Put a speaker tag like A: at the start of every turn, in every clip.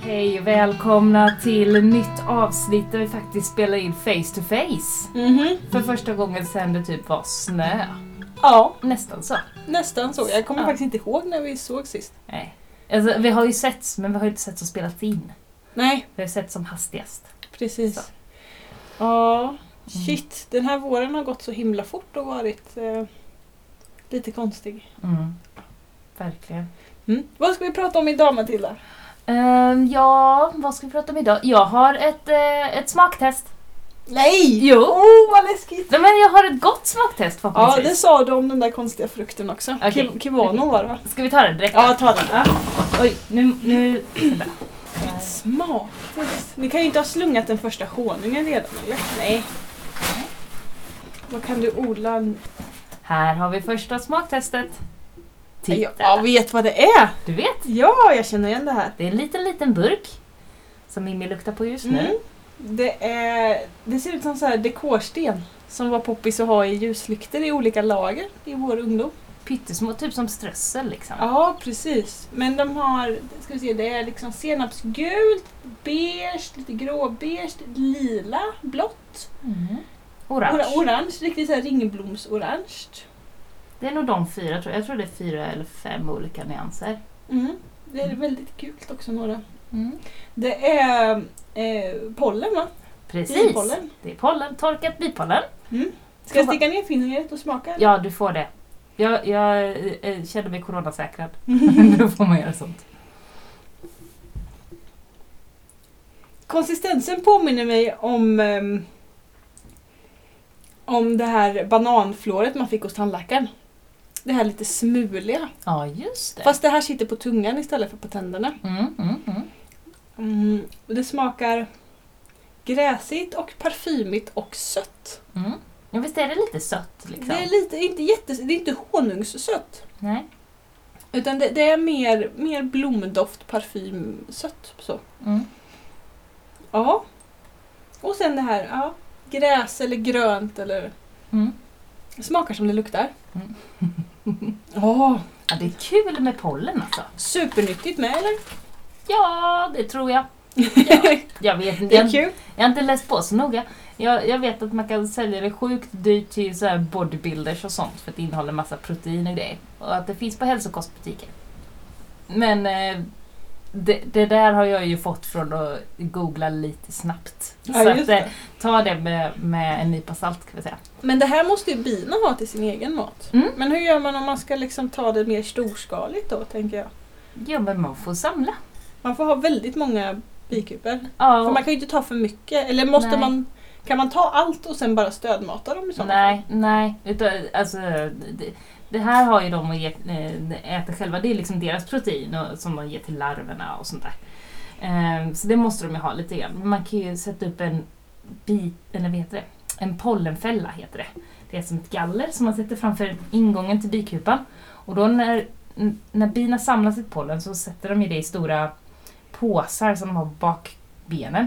A: Hej och välkomna till nytt avsnitt där vi faktiskt spelar in face to face.
B: Mhm.
A: För första gången sen det typ var snö.
B: Ja,
A: Nästan så.
B: nästan så. Jag kommer
A: Ja.
B: faktiskt inte ihåg när vi såg sist.
A: Nej. Alltså, vi har ju setts men vi har ju inte setts och spelat in.
B: Nej,
A: Vi har ju setts som hastigast. Så.
B: precis. Ja, shit. Den här våren har gått så himla fort och varit eh, lite konstig.
A: Mm. Verkligen.
B: Mm. Vad ska vi prata om idag Matilda?
A: Ehm, ja, vad ska vi prata om idag? Jag har ett, eh, ett smaktest.
B: Nej!
A: Jo!
B: Oh, vad läskigt!
A: Nej, men jag har ett gott smaktest
B: Ja, det
A: förhoppningsvis.
B: sa du om den där konstiga frukten också.
A: Okej.
B: Ki- Kiwano var det va?
A: Ska vi ta den direkt?
B: Ja, ta den. Ja.
A: Oj, nu... nu... vänta.
B: Smaktest. Ni kan ju inte ha slungat den första honungen redan eller? Nej. Vad kan du odla?
A: Här har vi första smaktestet. Titta!
B: Jag vet vad det är!
A: Du vet,
B: Ja, jag känner igen det här.
A: det är en liten, liten burk som Mimmi luktar på just nu.
B: Mm. Det, är, det ser ut som så här dekorsten som var poppis att ha i ljuslyktor i olika lager i vår ungdom.
A: Pyttesmå, typ som strössel liksom.
B: Ja, precis. Men de har, ska vi se, det är liksom senapsgult, beige, lite gråbeige, lila, blått,
A: Mm.
B: orange,
A: Orange.
B: orange riktigt så här ringblomsorange.
A: Det är nog de fyra, tror jag. jag tror det är fyra eller fem olika nyanser.
B: Mm. Det är väldigt gult också några.
A: Mm.
B: Det är eh, pollen va?
A: Precis!
B: Bipollen.
A: Det är pollen, torkat bipollen.
B: Mm. Ska jag sticka ner fingret och smaka?
A: Ja, du får det. Jag, jag eh, känner mig coronasäkrad. Då får man göra sånt.
B: Konsistensen påminner mig om ehm, om det här bananflåret man fick hos tandläkaren. Det här lite smuliga.
A: Ja, just det.
B: Fast det här sitter på tungan istället för på tänderna.
A: Mm, mm, mm.
B: Mm. Och det smakar gräsigt och parfymigt och sött.
A: Mm. Ja, visst är det lite sött liksom?
B: Det är lite, inte jättes, det är inte honungssött.
A: Nej.
B: Utan det, det är mer, mer blomdoft, parfymsött. Så.
A: Mm.
B: Ja. Och sen det här, ja. Gräs eller grönt eller
A: Mm.
B: Smakar som det luktar.
A: Mm.
B: Åh,
A: Ja, det är kul med pollen alltså.
B: supernyttigt med eller?
A: Ja, det tror jag. Ja, jag vet inte.
B: Det är
A: Jag,
B: kul.
A: jag har inte läst på så noga. Jag, jag vet att man kan sälja det sjukt dyrt till så här bodybuilders och sånt för att det innehåller massa protein och grejer. Och att det finns på hälsokostbutiker. Men eh, det, det där har jag ju fått från att googla lite snabbt.
B: Ja,
A: så
B: just
A: att,
B: det.
A: eh, ta det med, med en nypa salt kan vi säga.
B: Men det här måste ju bina ha till sin egen mat.
A: Mm.
B: Men hur gör man om man ska liksom ta det mer storskaligt då, tänker jag?
A: Ja, men man får samla.
B: Man får ha väldigt många bikuper. För
A: Ja,
B: man kan ju inte ta för mycket. Eller måste
A: Nej.
B: man... Kan man ta allt och sen bara stödmata dem i sådana fall?
A: nej, nej. Utan, alltså, det, det här har ju de att ge, eh, äta själva. Det är liksom deras protein och, som de ger till larverna och sånt där. Ehm, Så det måste de ju ha lite grann. Men Man kan ju sätta upp en bit, eller vad heter det? En pollenfälla heter det. Det är som ett galler som man sätter framför ingången till bikupan. Och då när, n- när bina samlar sitt pollen så sätter de ju det i stora påsar som de har på bakbenen.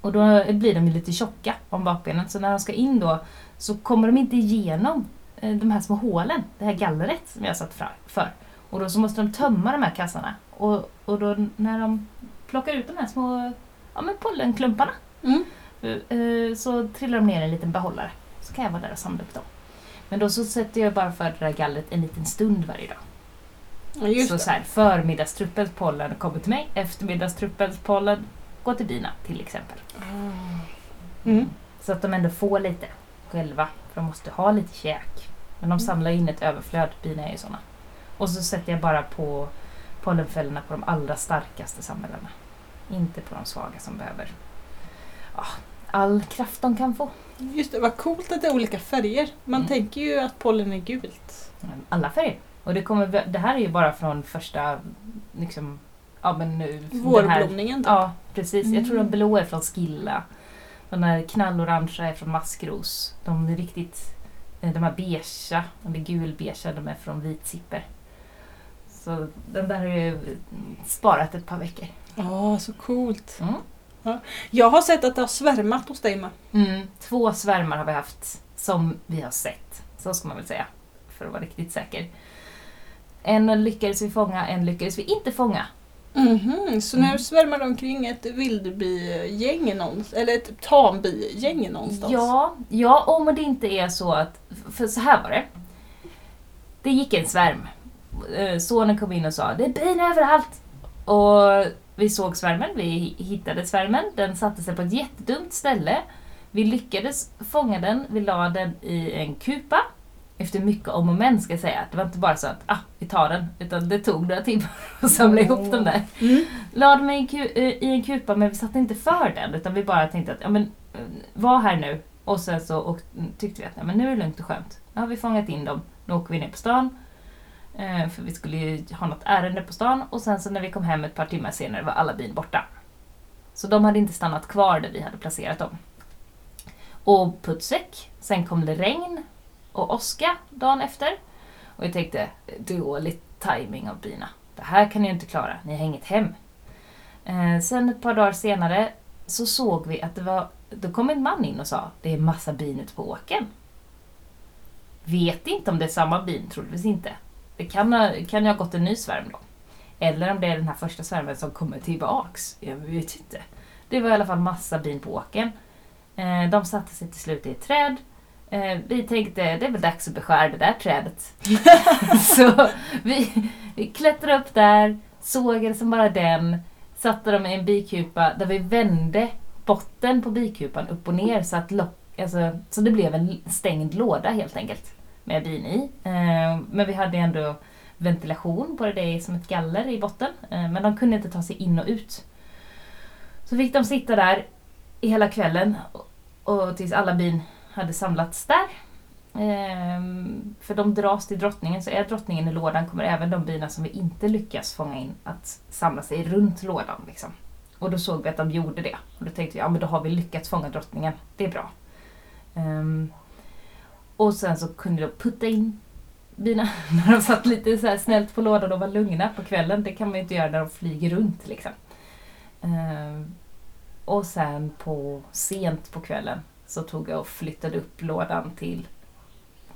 A: Och då blir de ju lite tjocka om bakbenen så när de ska in då så kommer de inte igenom eh, de här små hålen, det här gallret som jag satt fra- för. Och då så måste de tömma de här kassarna. Och, och då när de plockar ut de här små ja, men pollenklumparna
B: Mm.
A: eh, eh, så trillar de ner i en liten behållare. Så kan jag vara där och samla upp dem. Men då så sätter jag bara för det där gallret en liten stund varje dag.
B: Ja, just
A: så
B: det.
A: så här, förmiddagstruppens pollen kommer till mig, eftermiddagstruppens pollen går till bina till exempel.
B: Mm.
A: Så att de ändå får lite själva. För de måste ha lite käk. Men de samlar in ett överflöd, bina är ju såna. Och så sätter jag bara på pollenfällorna på de allra starkaste samhällena. Inte på de svaga som behöver ja, all kraft de kan få.
B: Just det, vad coolt att det är olika färger. Man
A: Mm.
B: tänker ju att pollen är gult.
A: Alla färger. Och det, kommer, det här är ju bara från första... Liksom, ja, men nu, den här-
B: Vårblomningen. då.
A: Ja, precis. Jag tror de
B: Mm.
A: blå är från Skilla. De där knallorangea är från Maskros. De är riktigt... eh, De här beigea, de är gulbeigea, de är från Vitsipper. Så den där har jag ju mm, sparat ett par veckor.
B: Ja, så coolt.
A: Mm.
B: Jag har sett att det har svärmat hos dig med.
A: Mm, två svärmar har vi haft som vi har sett. Så ska man väl säga, för att vara riktigt säker. En lyckades vi fånga, en lyckades vi inte fånga.
B: Mhm, så nu
A: Mm.
B: svärmar det omkring ett vildbigäng någonstans, eller ett tambigäng någonstans.
A: Ja, ja, om det inte är så att... För så här var det. Det gick en svärm. Eh, Sonen kom in och sa det är bin överallt. Och vi såg svärmen, vi hittade svärmen. Den satte sig på ett jättedumt ställe. Vi lyckades fånga den, vi la den i en kupa. Efter mycket om och men ska jag säga. Det var inte bara så att ah, vi tar den, utan det tog några timmar att samla ihop dem där
B: Mm.
A: lade mig i en ku- eh, i en kupa men vi satte inte för den utan vi bara tänkte att ja, men, eh, var här nu och sen så och, mm, tyckte vi att ja, men nu är det lugnt och skönt. Nu har vi fångat in dem, nu åker vi ner på stan. Eh, för vi skulle ju ha något ärende på stan och sen så när vi kom hem ett par timmar senare var alla bin borta. Så de hade inte stannat kvar där vi hade placerat dem. Och puttsäck, sen kom det regn och åska dagen efter. Och jag tänkte, eh, dålig timing av bina. Det här kan ni ju inte klara, ni har inget hem. Eh, sen ett par dagar senare så såg vi att det var, då kom en man in och sa det är massa bin ute på åken. Vet inte om det är samma bin, troligtvis inte. Det kan ha, kan ju ha gått en ny svärm då. Eller om det är den här första svärmen som kommer tillbaks. Jag vet inte. Det var i alla fall massa bin på åken. Eh, de satte sig till slut i ett träd. Eh, vi tänkte det är väl dags att beskära det där trädet. så vi, vi klättrade upp där, sågade som bara den satte dem i en bikupa där vi vände botten på bikupan upp och ner så att lock, alltså, så det blev en stängd låda helt enkelt med bin i. Eh, men vi hade ändå ventilation på det, det är som ett galler i botten. Eh, men de kunde inte ta sig in och ut. Så fick de sitta där i hela kvällen och, och tills alla bin hade samlats där. Ehm, för de dras till drottningen, så är drottningen i lådan kommer även de bina som vi inte lyckas fånga in att samla sig runt lådan. Liksom. Och då såg vi att de gjorde det. Och då tänkte vi, ja men då har vi lyckats fånga drottningen, det är bra. Ehm, och sen så kunde jag putta in bina när de satt lite så här snällt på lådan och var lugna på kvällen. Det kan man ju inte göra när de flyger runt liksom. Ehm, och sen på sent på kvällen så tog jag och flyttade upp lådan till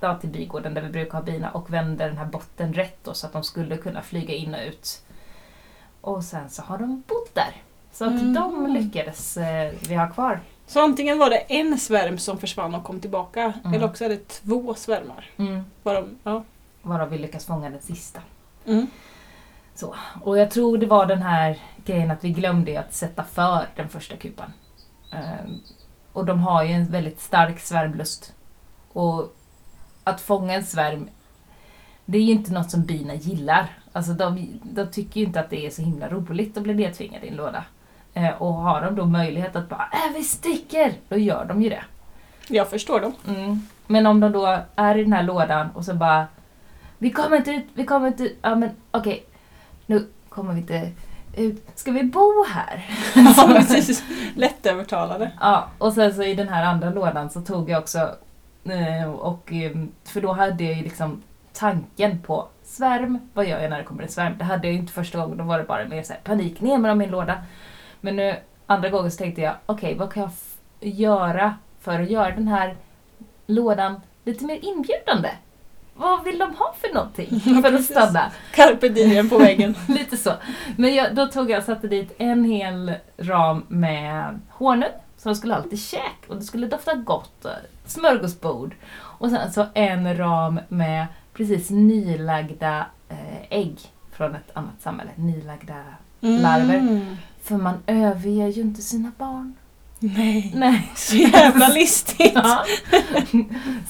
A: ja, till bigården där vi brukar ha bina och vände den här botten rätt då, så att de skulle kunna flyga in och ut. Och sen så har de bott där. Så att
B: Mm.
A: de lyckades eh, vi ha kvar.
B: Så antingen var det en svärm som försvann och kom tillbaka,
A: Mm.
B: eller också är det två svärmar. Var de, ja.
A: Varav vi lyckas fånga den sista.
B: mm.
A: Och jag tror det var den här grejen att vi glömde ju att sätta för den första kupan. Ehm, och de har ju en väldigt stark svärmlust. Och att fånga en svärm, det är ju inte något som bina gillar. Alltså de, de tycker ju inte att det är så himla roligt att bli nedtvingade i en låda. Ehm, och har de då möjlighet att bara äh, vi sticker, då gör de ju det.
B: Jag förstår dem.
A: Mm. Men om de då är i den här lådan och så bara Vi kommer inte ut, vi kommer inte ut. Ja men okej, nu kommer vi inte ut. Ska vi bo här?
B: Ja, precis. Lättövertalade.
A: ja, och sen så i den här andra lådan så tog jag också eh, och eh, för då hade jag ju liksom tanken på svärm, vad gör jag när det kommer en svärm? Det hade jag ju inte första gången, då var det bara mer så här, panik, ner med dem i en låda. Men nu andra gången så tänkte jag, okej vad kan jag f- göra för att göra den här lådan lite mer inbjudande? Vad vill de ha för någonting för att
B: Precis.
A: stanna?
B: Carpe diem på väggen.
A: Lite så. Men jag, då tog jag och satte dit en hel ram med honung som de skulle ha lite käk och det skulle dofta gott. och Smörgåsbord. Och sen så en ram med precis nylagda eh, ägg från ett annat samhälle. Nylagda.
B: Mm.
A: Larver. För man överger ju inte sina barn.
B: Nej.
A: Nej.
B: Så jävla listigt.
A: Ja.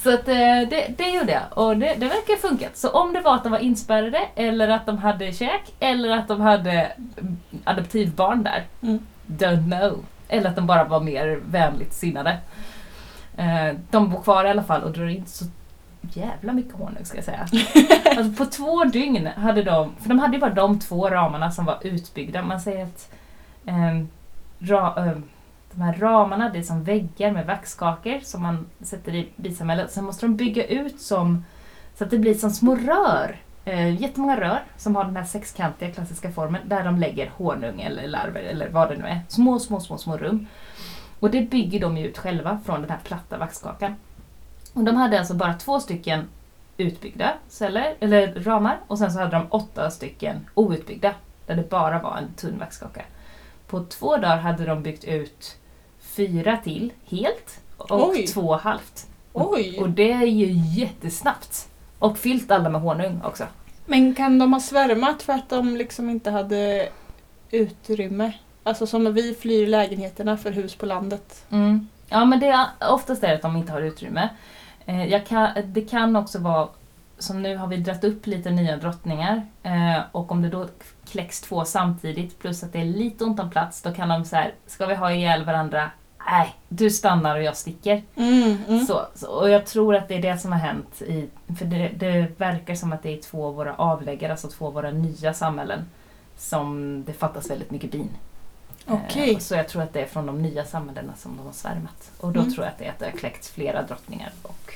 A: Så att, eh, det, det gjorde jag och det, det verkar ha funkat. Så om det var att de var inspärrade eller att de hade käk eller att de hade mm, adoptivbarn där.
B: Mm.
A: Don't know. Eller att de bara var mer vänligt sinnade. Eh, De bor kvar i alla fall och drar inte så jävla mycket honung ska jag säga. Alltså på två dygn hade de, för de hade ju bara de två ramarna som var utbyggda. Man säger att ehm, ra, ehm, de här ramarna, det är som väggar med vaxkakor som man sätter i bisamhället. Sen måste de bygga ut som, så att det blir som små rör. Eh, jättemånga rör som har den här sexkantiga klassiska formen där de lägger honung eller larver eller vad det nu är. Små, små, små, små rum. Och det bygger de ju ut själva från den här platta vaxkakan. Och de hade alltså bara två stycken utbyggda celler, eller ramar och sen så hade de åtta stycken outbyggda där det bara var en tunn vaxkaka. På två dagar hade de byggt ut fyra till helt och
B: Oj.
A: två halvt. Och
B: Oj!
A: det är ju jättesnabbt. Och fyllt alla med honung också.
B: Men kan de ha svärmat för att de liksom inte hade utrymme? Alltså som när vi flyr lägenheterna för hus på landet.
A: Mm. Ja, men det är oftast är det att de inte har utrymme. Eh, jag kan, det kan också vara, som nu har vi dratt upp lite nya drottningar eh, och om det då kläcks två samtidigt plus att det är lite ont om plats, då kan de så här, ska vi ha ihjäl varandra? Nej, du stannar och jag sticker.
B: Mm, mm.
A: Så, så, och jag tror att det är det som har hänt. I, för det, det verkar som att det är två av våra avläggare, alltså två av våra nya samhällen, som det fattas väldigt mycket bin.
B: Okej.
A: Eh, och Så jag tror att det är från de nya samhällena som de har svärmat. Och då
B: Mm.
A: tror jag att det är att det har kläckts flera drottningar och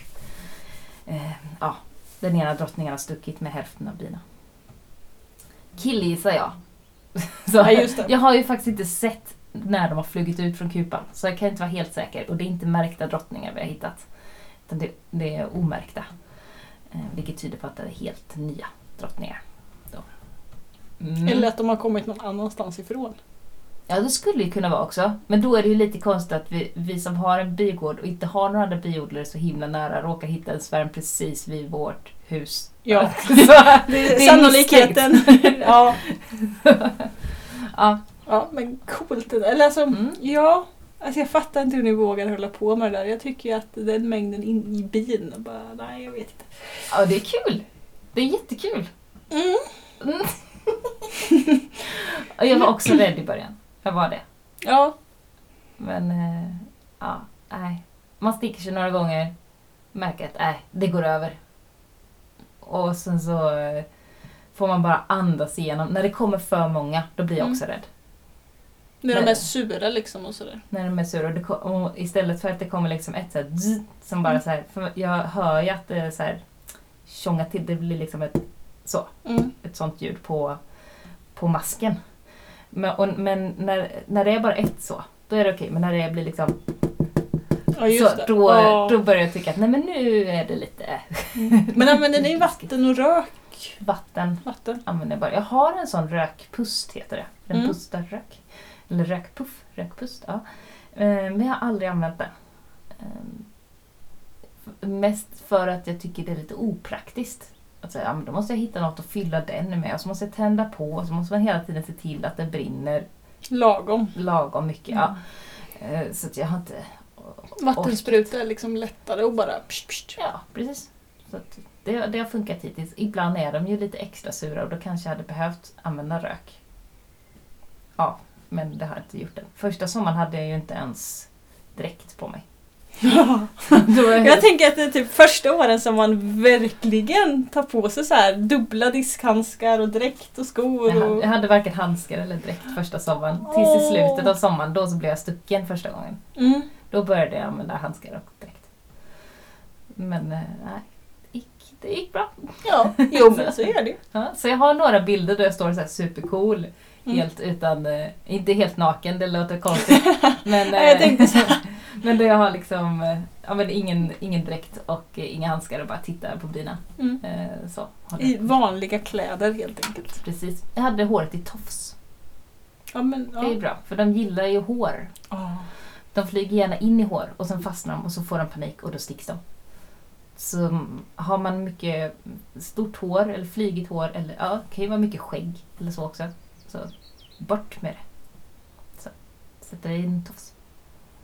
A: eh, ja, den ena drottningen har stuckit med hälften av bina. Killgissar jag. Så,
B: Ja, just det.
A: Jag har ju faktiskt inte sett när de har flugit ut från kupan så jag kan inte vara helt säker. Och det är inte märkta drottningar vi har hittat. Utan det, det är omärkta. Eh, vilket tyder på att det är helt nya drottningar. Då. Mm.
B: Eller att de har kommit någon annanstans ifrån.
A: Ja, det skulle ju kunna vara också. Men då är det ju lite konstigt att vi, vi som har en bigård och inte har några andra biodlare så himla nära råkar hitta en svärm precis vid vårt hus.
B: Ja,
A: Så, det
B: det är
A: misstänkt.
B: sannolikheten. ja.
A: Ja.
B: ja, men coolt. det där. Eller alltså,
A: Mm.
B: ja. Alltså jag fattar inte hur ni vågar hålla på med det där. Jag tycker ju att den mängden in i bin, bara, nej jag vet inte.
A: ja, det är kul. Det är jättekul.
B: Mm.
A: Mm. och jag var också rädd i början. Jag var det.
B: Ja,
A: Men, eh, ja, nej. Man sticker sig några gånger, märker att nej, det går över. Och sen så eh, får man bara andas igenom. När det kommer för många, då blir jag också rädd.
B: när
A: Nej.
B: de är sura liksom och sådär.
A: När de är sura. Och det, ko- och istället för att det kommer liksom ett så här zzz, som bara så här, för jag hör ju att det är så här tjongar till. Det blir liksom ett, så,
B: Mm.
A: ett sånt ljud på, på masken. Men, och, men när, när det är bara ett så, då är det okej. Men när det blir liksom
B: Ja, just
A: så
B: det.
A: då,
B: Ja.
A: då börjar jag tycka att nej men nu är det lite
B: Men använder ni vatten och rök?
A: vatten.
B: Vatten?
A: Använder jag, bara. jag har en sån rökpust heter det. Den
B: Mm.
A: pustar rök. Eller rökpuff, rökpust. Ja. Eh, Men jag har aldrig använt den. Eh, Mest för att jag tycker det är lite opraktiskt. Att säga, ja, men då måste jag hitta något att fylla den med och så måste jag tända på och så måste man hela tiden se till att det brinner
B: Lagom.
A: lagom mycket. Ja. Eh, Så att jag har inte...
B: Vattenspruta är liksom lättare och bara pst, pst.
A: Ja, precis. Så att det, det har funkat hittills. Ibland är de ju lite extra sura och då kanske jag hade behövt använda rök. Ja, men det har jag inte gjort än. Första sommaren hade jag ju inte ens dräkt på mig. Då var jag
B: Jag
A: helt-
B: tänker att det är typ första åren som man verkligen tar på sig så här dubbla diskhandskar och dräkt och
A: jag,
B: skor.
A: hade,
B: Och...
A: jag hade varken handskar eller dräkt första sommaren. Tills i slutet av sommaren, då så blev jag stucken första gången.
B: Mm.
A: Då började jag använda handskar och dräkt. Men eh, nej, det gick, det gick bra.
B: Ja, jo men så är det ju.
A: Ja, så jag har några bilder där jag står så här supercool.
B: Mm.
A: Helt utan, eh, inte helt naken, det låter konstigt. men,
B: Nej, jag
A: eh,
B: tänkte så.
A: men där jag har liksom, eh, ja, men ingen, ingen dräkt och eh, inga handskar och bara tittar på bina.
B: Mm.
A: Eh, Så, håller jag
B: I vanliga kläder helt enkelt.
A: på. Precis. Jag hade håret i tofs.
B: Ja, men,
A: Det är ju
B: ja.
A: bra, för de gillar ju hår.
B: Ja.
A: De flyger gärna in i hår och sen fastnar de och så får de panik och då sticks de. Så mm, har man mycket stort hår eller flygigt hår eller ja, det kan ju vara mycket skägg eller så också. Så bort med det. Så sätter i en tofs.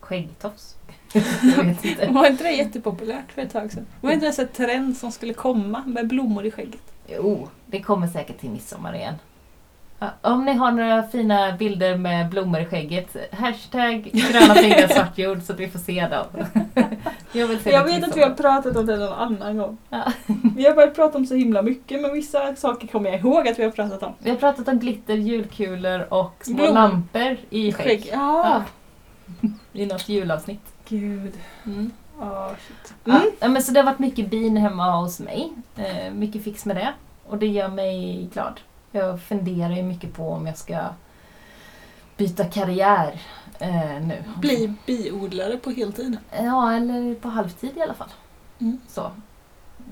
A: Skäggtofs. jag vet inte.
B: Var inte det jättepopulärt för ett tag sedan? Var inte det en sån här trend som skulle komma med blommor i skägget?
A: Jo, Oh, det kommer säkert till midsommar igen. Ja, om ni har några fina bilder med blommor i skägget, hashtag gröna fingrar svart jord så att vi får se dem. jag vill se
B: Jag
A: det till
B: vet att vi
A: midsommar.
B: har pratat om det någon annan gång.
A: Ja.
B: Vi har börjat prata om så himla mycket men vissa saker kommer jag ihåg att vi har pratat om.
A: Vi har pratat om glitter, julkulor och små
B: Blommor.
A: lampor i skägg.
B: Ja.
A: I något julavsnitt.
B: Gud.
A: Mm.
B: Ja, shit.
A: Ja, Ja, men så det har varit mycket bin hemma hos mig. Eh, mycket fix med det. Och det gör mig glad. Jag funderar ju mycket på om jag ska byta karriär eh, nu.
B: Bli biodlare på heltid.
A: Eh, Ja, eller på halvtid i alla fall.
B: Mm.
A: Så.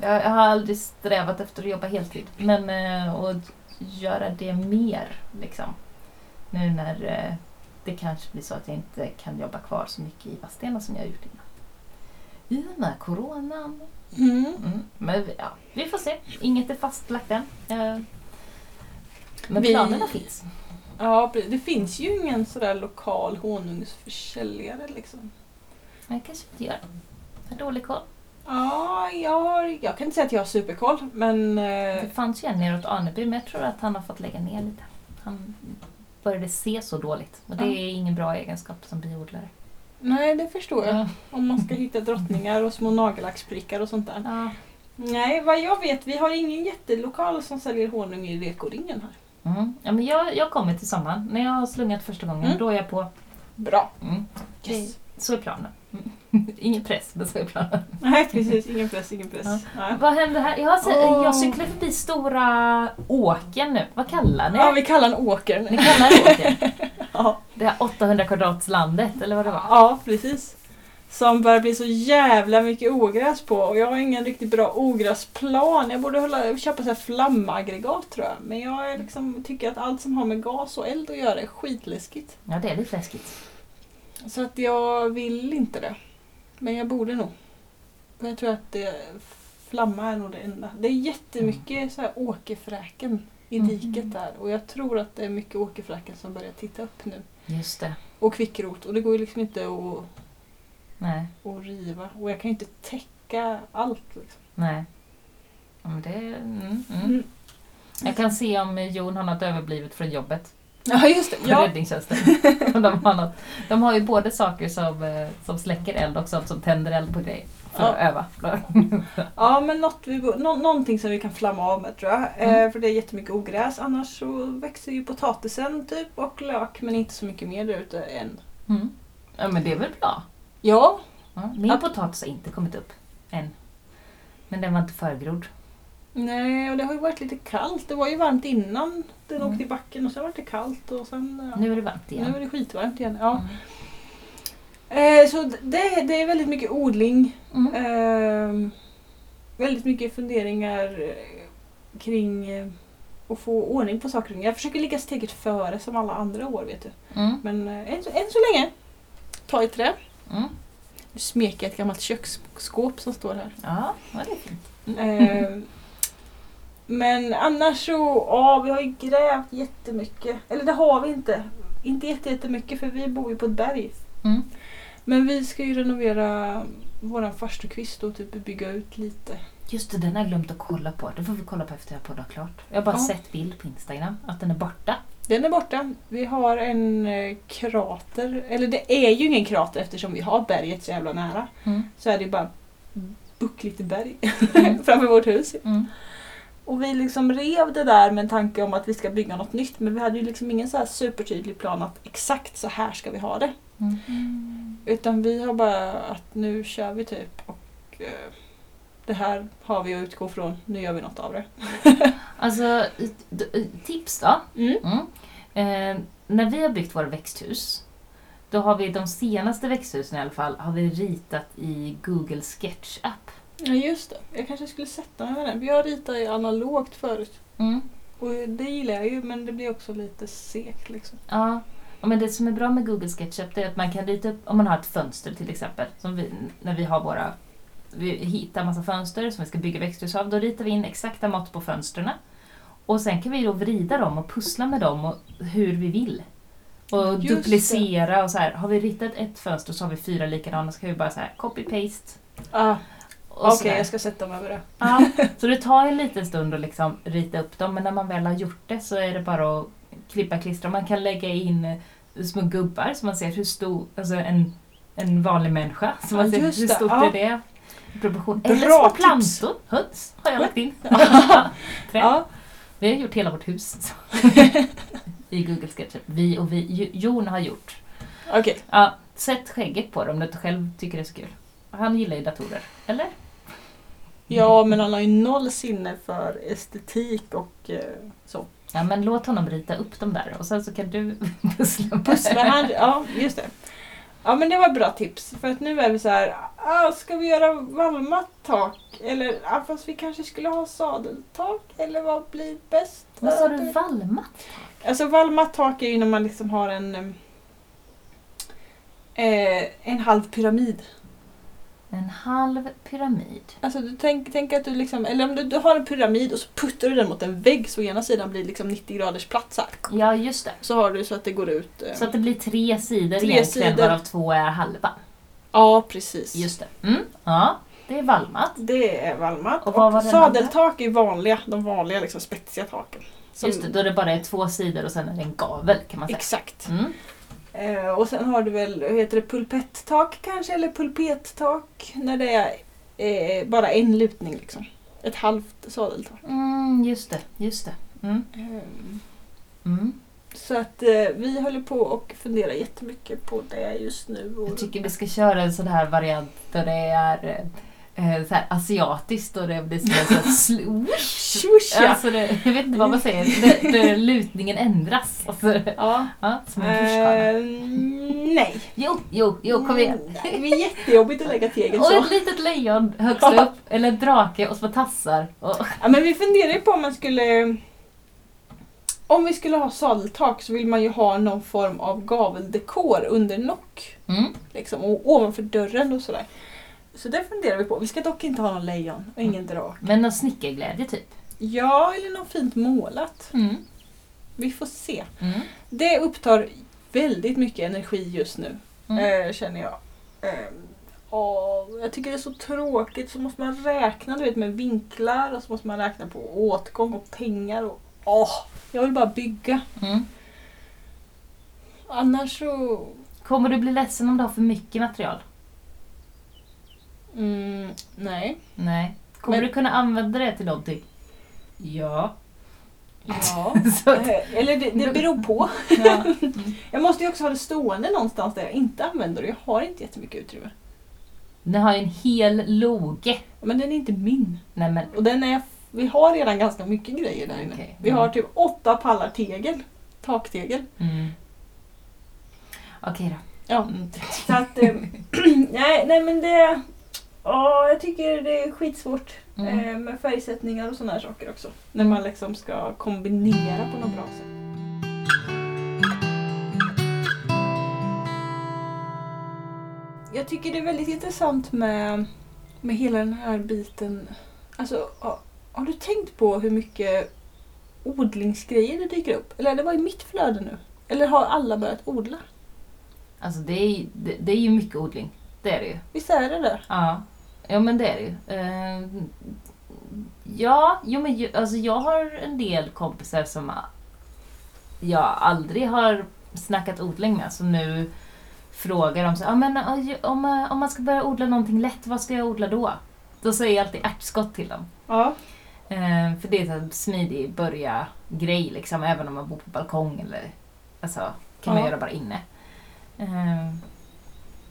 A: Jag, jag har aldrig strävat efter att jobba heltid. Men, eh, och göra det mer. Liksom. Nu när eh, det kanske blir så att jag inte kan jobba kvar så mycket i Vadstena som jag har gjort innan. I och med coronan.
B: Mm.
A: Mm. Men vi- ja, vi får se. Inget är fastlagt än. Eh, Men
B: Vi-
A: planerna finns.
B: Ja, pre- det finns ju ingen sådär lokal honungsförsäljare liksom.
A: Men jag kanske inte gör det. Jag har dålig koll.
B: Ja, jag, har, jag kan inte säga att jag har superkoll, men... eh,
A: Det fanns ju en neråt Aneby men jag tror att han har fått lägga ner lite. Han började se så dåligt och det
B: Ja.
A: är ingen bra egenskap som biodlare.
B: Nej, det förstår jag.
A: Ja.
B: Om man ska hitta drottningar och små nagellacksprickar och sånt där.
A: Ja.
B: Nej, vad jag vet, vi har ingen jättelokal som säljer honung i rekoringen här.
A: Mm. Ja, men jag, jag kommer till sommaren. När jag har slungat första gången,
B: Mm.
A: då är jag på.
B: Bra!
A: Mm.
B: Yes.
A: Så är planen. Mm. Ingen press, men så är planen.
B: Nej, precis. Ingen press, ingen press. Ja.
A: Vad händer här? Jag, har se-
B: Åh.
A: jag cyklar förbi Stora Åken nu. Vad kallar ni
B: Ja, vi kallar den åker
A: Ni
B: nu.
A: kallar det åken?
B: Ja.
A: Det här 800 kvadratslandet, eller vad det var?
B: Ja, precis. Som börjar bli så jävla mycket ogräs på och jag har ingen riktigt bra ogräsplan. Jag borde hålla, köpa så här flamaggregat tror jag. Men jag är liksom, tycker att allt som har med gas och eld att göra är skitläskigt.
A: Ja, det är lite läskigt.
B: Så att jag vill inte det. Men jag borde nog. Men jag tror att det, flamma är nog det enda. Det är jättemycket så här åkerfräken i
A: Mm.
B: diket där och jag tror att det är mycket åkerfräken som börjar titta upp nu.
A: Just det.
B: Och kvickrot och det går ju liksom inte att
A: Nej.
B: och riva. Och jag kan ju inte täcka allt. Liksom.
A: Nej. Ja, men det... Mm, mm.
B: Mm.
A: Jag kan se om Jon har något överblivet från jobbet.
B: Ja, just det.
A: På
B: Ja.
A: räddningstjänsten. Om de, har något. de har ju både saker som, eh, som släcker eld och sånt som tänder eld på grejer. För att
B: Ja.
A: öva.
B: ja, men något vi, bo- nå, någonting som vi kan flamma av med tror jag. Eh, för det är jättemycket ogräs. Annars så växer ju potatisen typ och lök men inte så mycket mer där ute än.
A: Mm. Ja, men det är väl bra?
B: Ja,
A: Ja. Min
B: Ja.
A: potatis har inte kommit upp än. Men den var inte förgrodd.
B: nej och det har ju varit lite kallt. Det var ju varmt innan den
A: Mm.
B: åkte i backen och sen var det kallt och sen... Ja.
A: Nu är det varmt igen.
B: Nu är det skitvarmt igen. Ja.
A: Mm.
B: Eh, så det, det är väldigt mycket odling.
A: Mm.
B: Ehm, väldigt mycket funderingar eh, kring eh, att få ordning på saker och ting. Jag försöker ligga steget före som alla andra år vet du.
A: Mm.
B: Men eh, än, så- än så länge, ta i trä.
A: Mm.
B: Nu smeker jag ett gammalt köksskåp som står här.
A: Ja, ja, det är fint.
B: Ehm, men annars så, ja vi har ju grävt jättemycket. Eller det har vi inte. Inte jätte- jättemycket för vi bor ju på ett berg.
A: Mm.
B: Men vi ska ju renovera våran farstukvist och typ bygga ut lite.
A: Just det, den har jag glömt att kolla på. Det får vi kolla på efter jag har poddat klart. Jag har bara
B: Ja.
A: sett bild på Instagram att den är borta.
B: Den är borta. Vi har en eh, krater. Eller det är ju ingen krater eftersom vi har berget så jävla nära.
A: Mm.
B: Så är det ju bara buckligt berg
A: Mm.
B: framför vårt hus.
A: Mm.
B: Och vi liksom rev det där med en tanke om att vi ska bygga något nytt. Men vi hade ju liksom ingen så här supertydlig plan att exakt så här ska vi ha det.
A: Mm.
B: Utan vi har bara att nu kör vi typ. Och eh, det här har vi att utgå från. Nu gör vi något av det.
A: Alltså, d- d- tips då.
B: Mm.
A: Mm. Eh, när vi har byggt våra växthus, då har vi de senaste växthusen i alla fall, har vi ritat i Google Sketch-app.
B: Ja just det. Jag kanske skulle sätta mig med den. Jag ritar ju analogt förut.
A: Mm.
B: Och det gillar jag ju men det blir också lite segt liksom.
A: Ja. ja, men det som är bra med Google SketchUp det är att man kan rita upp, om man har ett fönster till exempel, som vi, när vi har våra, vi hittar massa fönster som vi ska bygga växthus av, då ritar vi in exakta mått på fönstren. Och sen kan vi då vrida dem och pussla med dem och hur vi vill. Och
B: Just det.
A: duplicera och så här. Har vi ritat ett fönster så har vi fyra likadana så kan vi bara så här copy-paste.
B: Ah,
A: och
B: Okej,
A: så där.
B: jag ska sätta mig med det.
A: Ja, så det tar ju en liten stund att liksom rita upp dem men när man väl har gjort det så är det bara att klippa klistra. Man kan lägga in eh, små gubbar så man ser hur stor, alltså en, en vanlig människa. Så man
B: Ja,
A: ser hur
B: just det,
A: stort
B: ja.
A: är det i proportion.
B: Bra
A: Eller små
B: tips.
A: plantor. Höns har jag lagt in. Träd.
B: Ja.
A: Vi har gjort hela vårt hus. I Google SketchUp. Vi och vi. Jo- Jon har gjort.
B: Okej.
A: Ja, sätt skägget på dem om du inte själv tycker det är så kul. Han gillar ju datorer. Eller?
B: Ja, men han har ju noll sinne för estetik och eh, så.
A: Ja, men låt honom rita upp dem där och sen så kan du pussla med.
B: Pusslar han? Ja, just det. Ja men det var ett bra tips. För att nu är det så här, ah, ska vi göra valmat tak? Eller ah, fast vi kanske skulle ha sadeltak? Eller vad blir bäst?
A: Vad sa du?
B: Ja,
A: Valma?
B: Alltså valmat tak är ju när man liksom har en em, eh, en halv pyramid.
A: En halv pyramid.
B: Alltså du tänk, tänk att du liksom, eller om du, du har en pyramid och så puttar du den mot en vägg så ena sidan blir liksom 90 graders plats här.
A: Ja, just det.
B: Så har du så att det går ut. eh,
A: Så att det blir tre sidor
B: Tre
A: egentligen,
B: sidor.
A: varav två är halva.
B: Ja precis.
A: Just det. Mm, ja, det är valmat.
B: Det är valmat.
A: Och vad
B: Och,
A: var den
B: sadeltak är vanliga, de vanliga liksom spetsiga taken. Som-
A: Just det, då det bara är två sidor och sen är det en gavel kan man säga.
B: Exakt.
A: Mm.
B: Eh, och sen har du väl, hur heter det, pulpettak kanske? Eller pulpettak? När det är eh, bara en lutning liksom. Ett halvt sadeltak.
A: Mm, just det, just det. Mm.
B: Ehm,
A: Mm.
B: Så att eh, vi håller på och funderar jättemycket på det just nu. Och,
A: Jag tycker vi ska köra en sån här variant där det är eh, eh, så här asiatiskt och det blir som en sån här swoosh.
B: Tjusch, ja.
A: Alltså det, jag vet inte vad man säger, det, det, lutningen ändras. Alltså,
B: Ja.
A: ja, som en rutschkana.
B: Eh. Ehm, nej. Mm,
A: Jo, jo, jo, kom igen.
B: Nej, Det är jättejobbigt att lägga tegel
A: Och
B: Mm. så.
A: ett litet lejon högst upp, eller en drake och små tassar. Och,
B: Ja, men vi funderar ju på om man skulle... Om vi skulle ha sadeltak så vill man ju ha någon form av gaveldekor under nock.
A: mm.
B: Liksom, och ovanför dörren och sådär. Så det funderar vi på. Vi ska dock inte ha någon lejon och ingen drake.
A: Men någon snickerglädje typ.
B: Ja, eller något fint målat.
A: Mm.
B: Vi får se.
A: Mm.
B: Det upptar väldigt mycket energi just nu,
A: Mm.
B: eh, känner jag. Eh, och jag tycker det är så tråkigt. Så måste man räkna du vet, med vinklar och så måste man räkna på åtgång och pengar. Och, åh, jag vill bara bygga.
A: Mm.
B: Annars så...
A: Kommer du bli ledsen om du har för mycket material?
B: Mm, nej.
A: Nej. Kommer
B: Men-
A: du kunna använda det till någonting? Ja.
B: Ja.
A: Så,
B: Eh, Eller det, det beror på.
A: ja.
B: Jag måste ju också ha det stående någonstans där jag inte använder det. Jag har inte jättemycket utrymme.
A: Ni har ju en hel loge.
B: Men den är inte min.
A: Nej men
B: Och den är, vi har redan ganska mycket grejer där inne.
A: Okej.
B: Vi har typ åtta pallar tegel. Taktegel.
A: Mm. Okej då.
B: Ja.
A: Mm.
B: Så att, eh, nej, nej men det... Ja, jag tycker det är skitsvårt
A: Mm.
B: eh, med färgsättningar och sådana här saker också. När man liksom ska kombinera på något bra sätt. Jag tycker det är väldigt intressant med, med hela den här biten. Alltså, har, har du tänkt på hur mycket odlingsgrejer det dyker upp? Eller det var i mitt flöde nu. Eller har alla börjat odla?
A: Alltså det är, ju- det, det är ju mycket odling. Det är det ju.
B: Visst är det det?
A: Ja, ja men det är det ju. Eh, ja, jo, men ju, alltså jag har en del kompisar som a- jag aldrig har snackat odling med som nu frågar om så, ah, men, ah, ju- om, eh, om man ska börja odla någonting lätt, vad ska jag odla då? Då säger jag alltid ärtskott till dem.
B: Ja.
A: Eh, för det är en smidig börja-grej, liksom, även om man bor på balkong. Eller, alltså, kan man
B: Ja.
A: göra bara inne. Eh,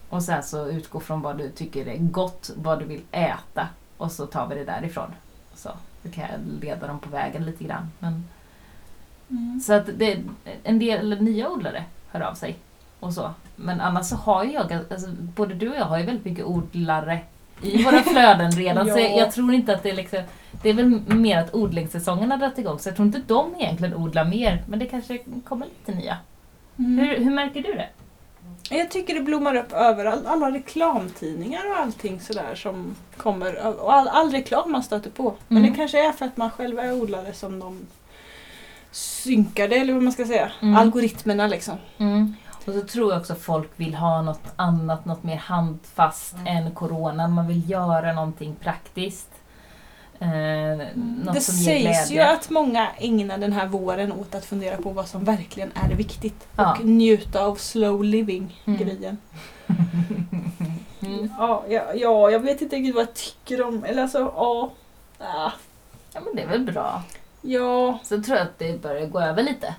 A: och sen så utgå från vad du tycker är gott, vad du vill äta och så tar vi det därifrån. Så, då kan jag leda dem på vägen lite grann. Men,
B: Mm.
A: så att det, en del nya odlare hör av sig. och så. Men annars så har ju jag, alltså, både du och jag har ju väldigt mycket odlare i våra flöden redan. Så
B: Ja.
A: jag, jag tror inte att det är liksom, det är väl mer att odlingssäsongen har dragit igång så jag tror inte de egentligen odlar mer. Men det kanske kommer lite nya.
B: Mm.
A: Hur, hur märker du det?
B: Jag tycker det blommar upp överallt. Alla reklamtidningar och allting sådär som kommer. Och all, all reklam man stöter på. Men
A: Mm.
B: det kanske är för att man själv är odlare som de synkade, eller vad man ska säga.
A: Mm.
B: Algoritmerna liksom.
A: Mm. Och så tror jag också att folk vill ha något annat, något mer handfast
B: Mm.
A: än coronan. Man vill göra någonting praktiskt. Eh, något
B: det
A: som ger
B: sägs ju
A: glädje.
B: att många ägnar den här våren åt att fundera på vad som verkligen är viktigt.
A: Ja.
B: Och njuta av slow living-grejen.
A: Mm.
B: Ja, ja, ja, jag vet inte riktigt vad jag tycker om... Eller alltså, ja. Ah,
A: Ja men det är väl bra.
B: Ja.
A: Så tror jag att det börjar gå över lite.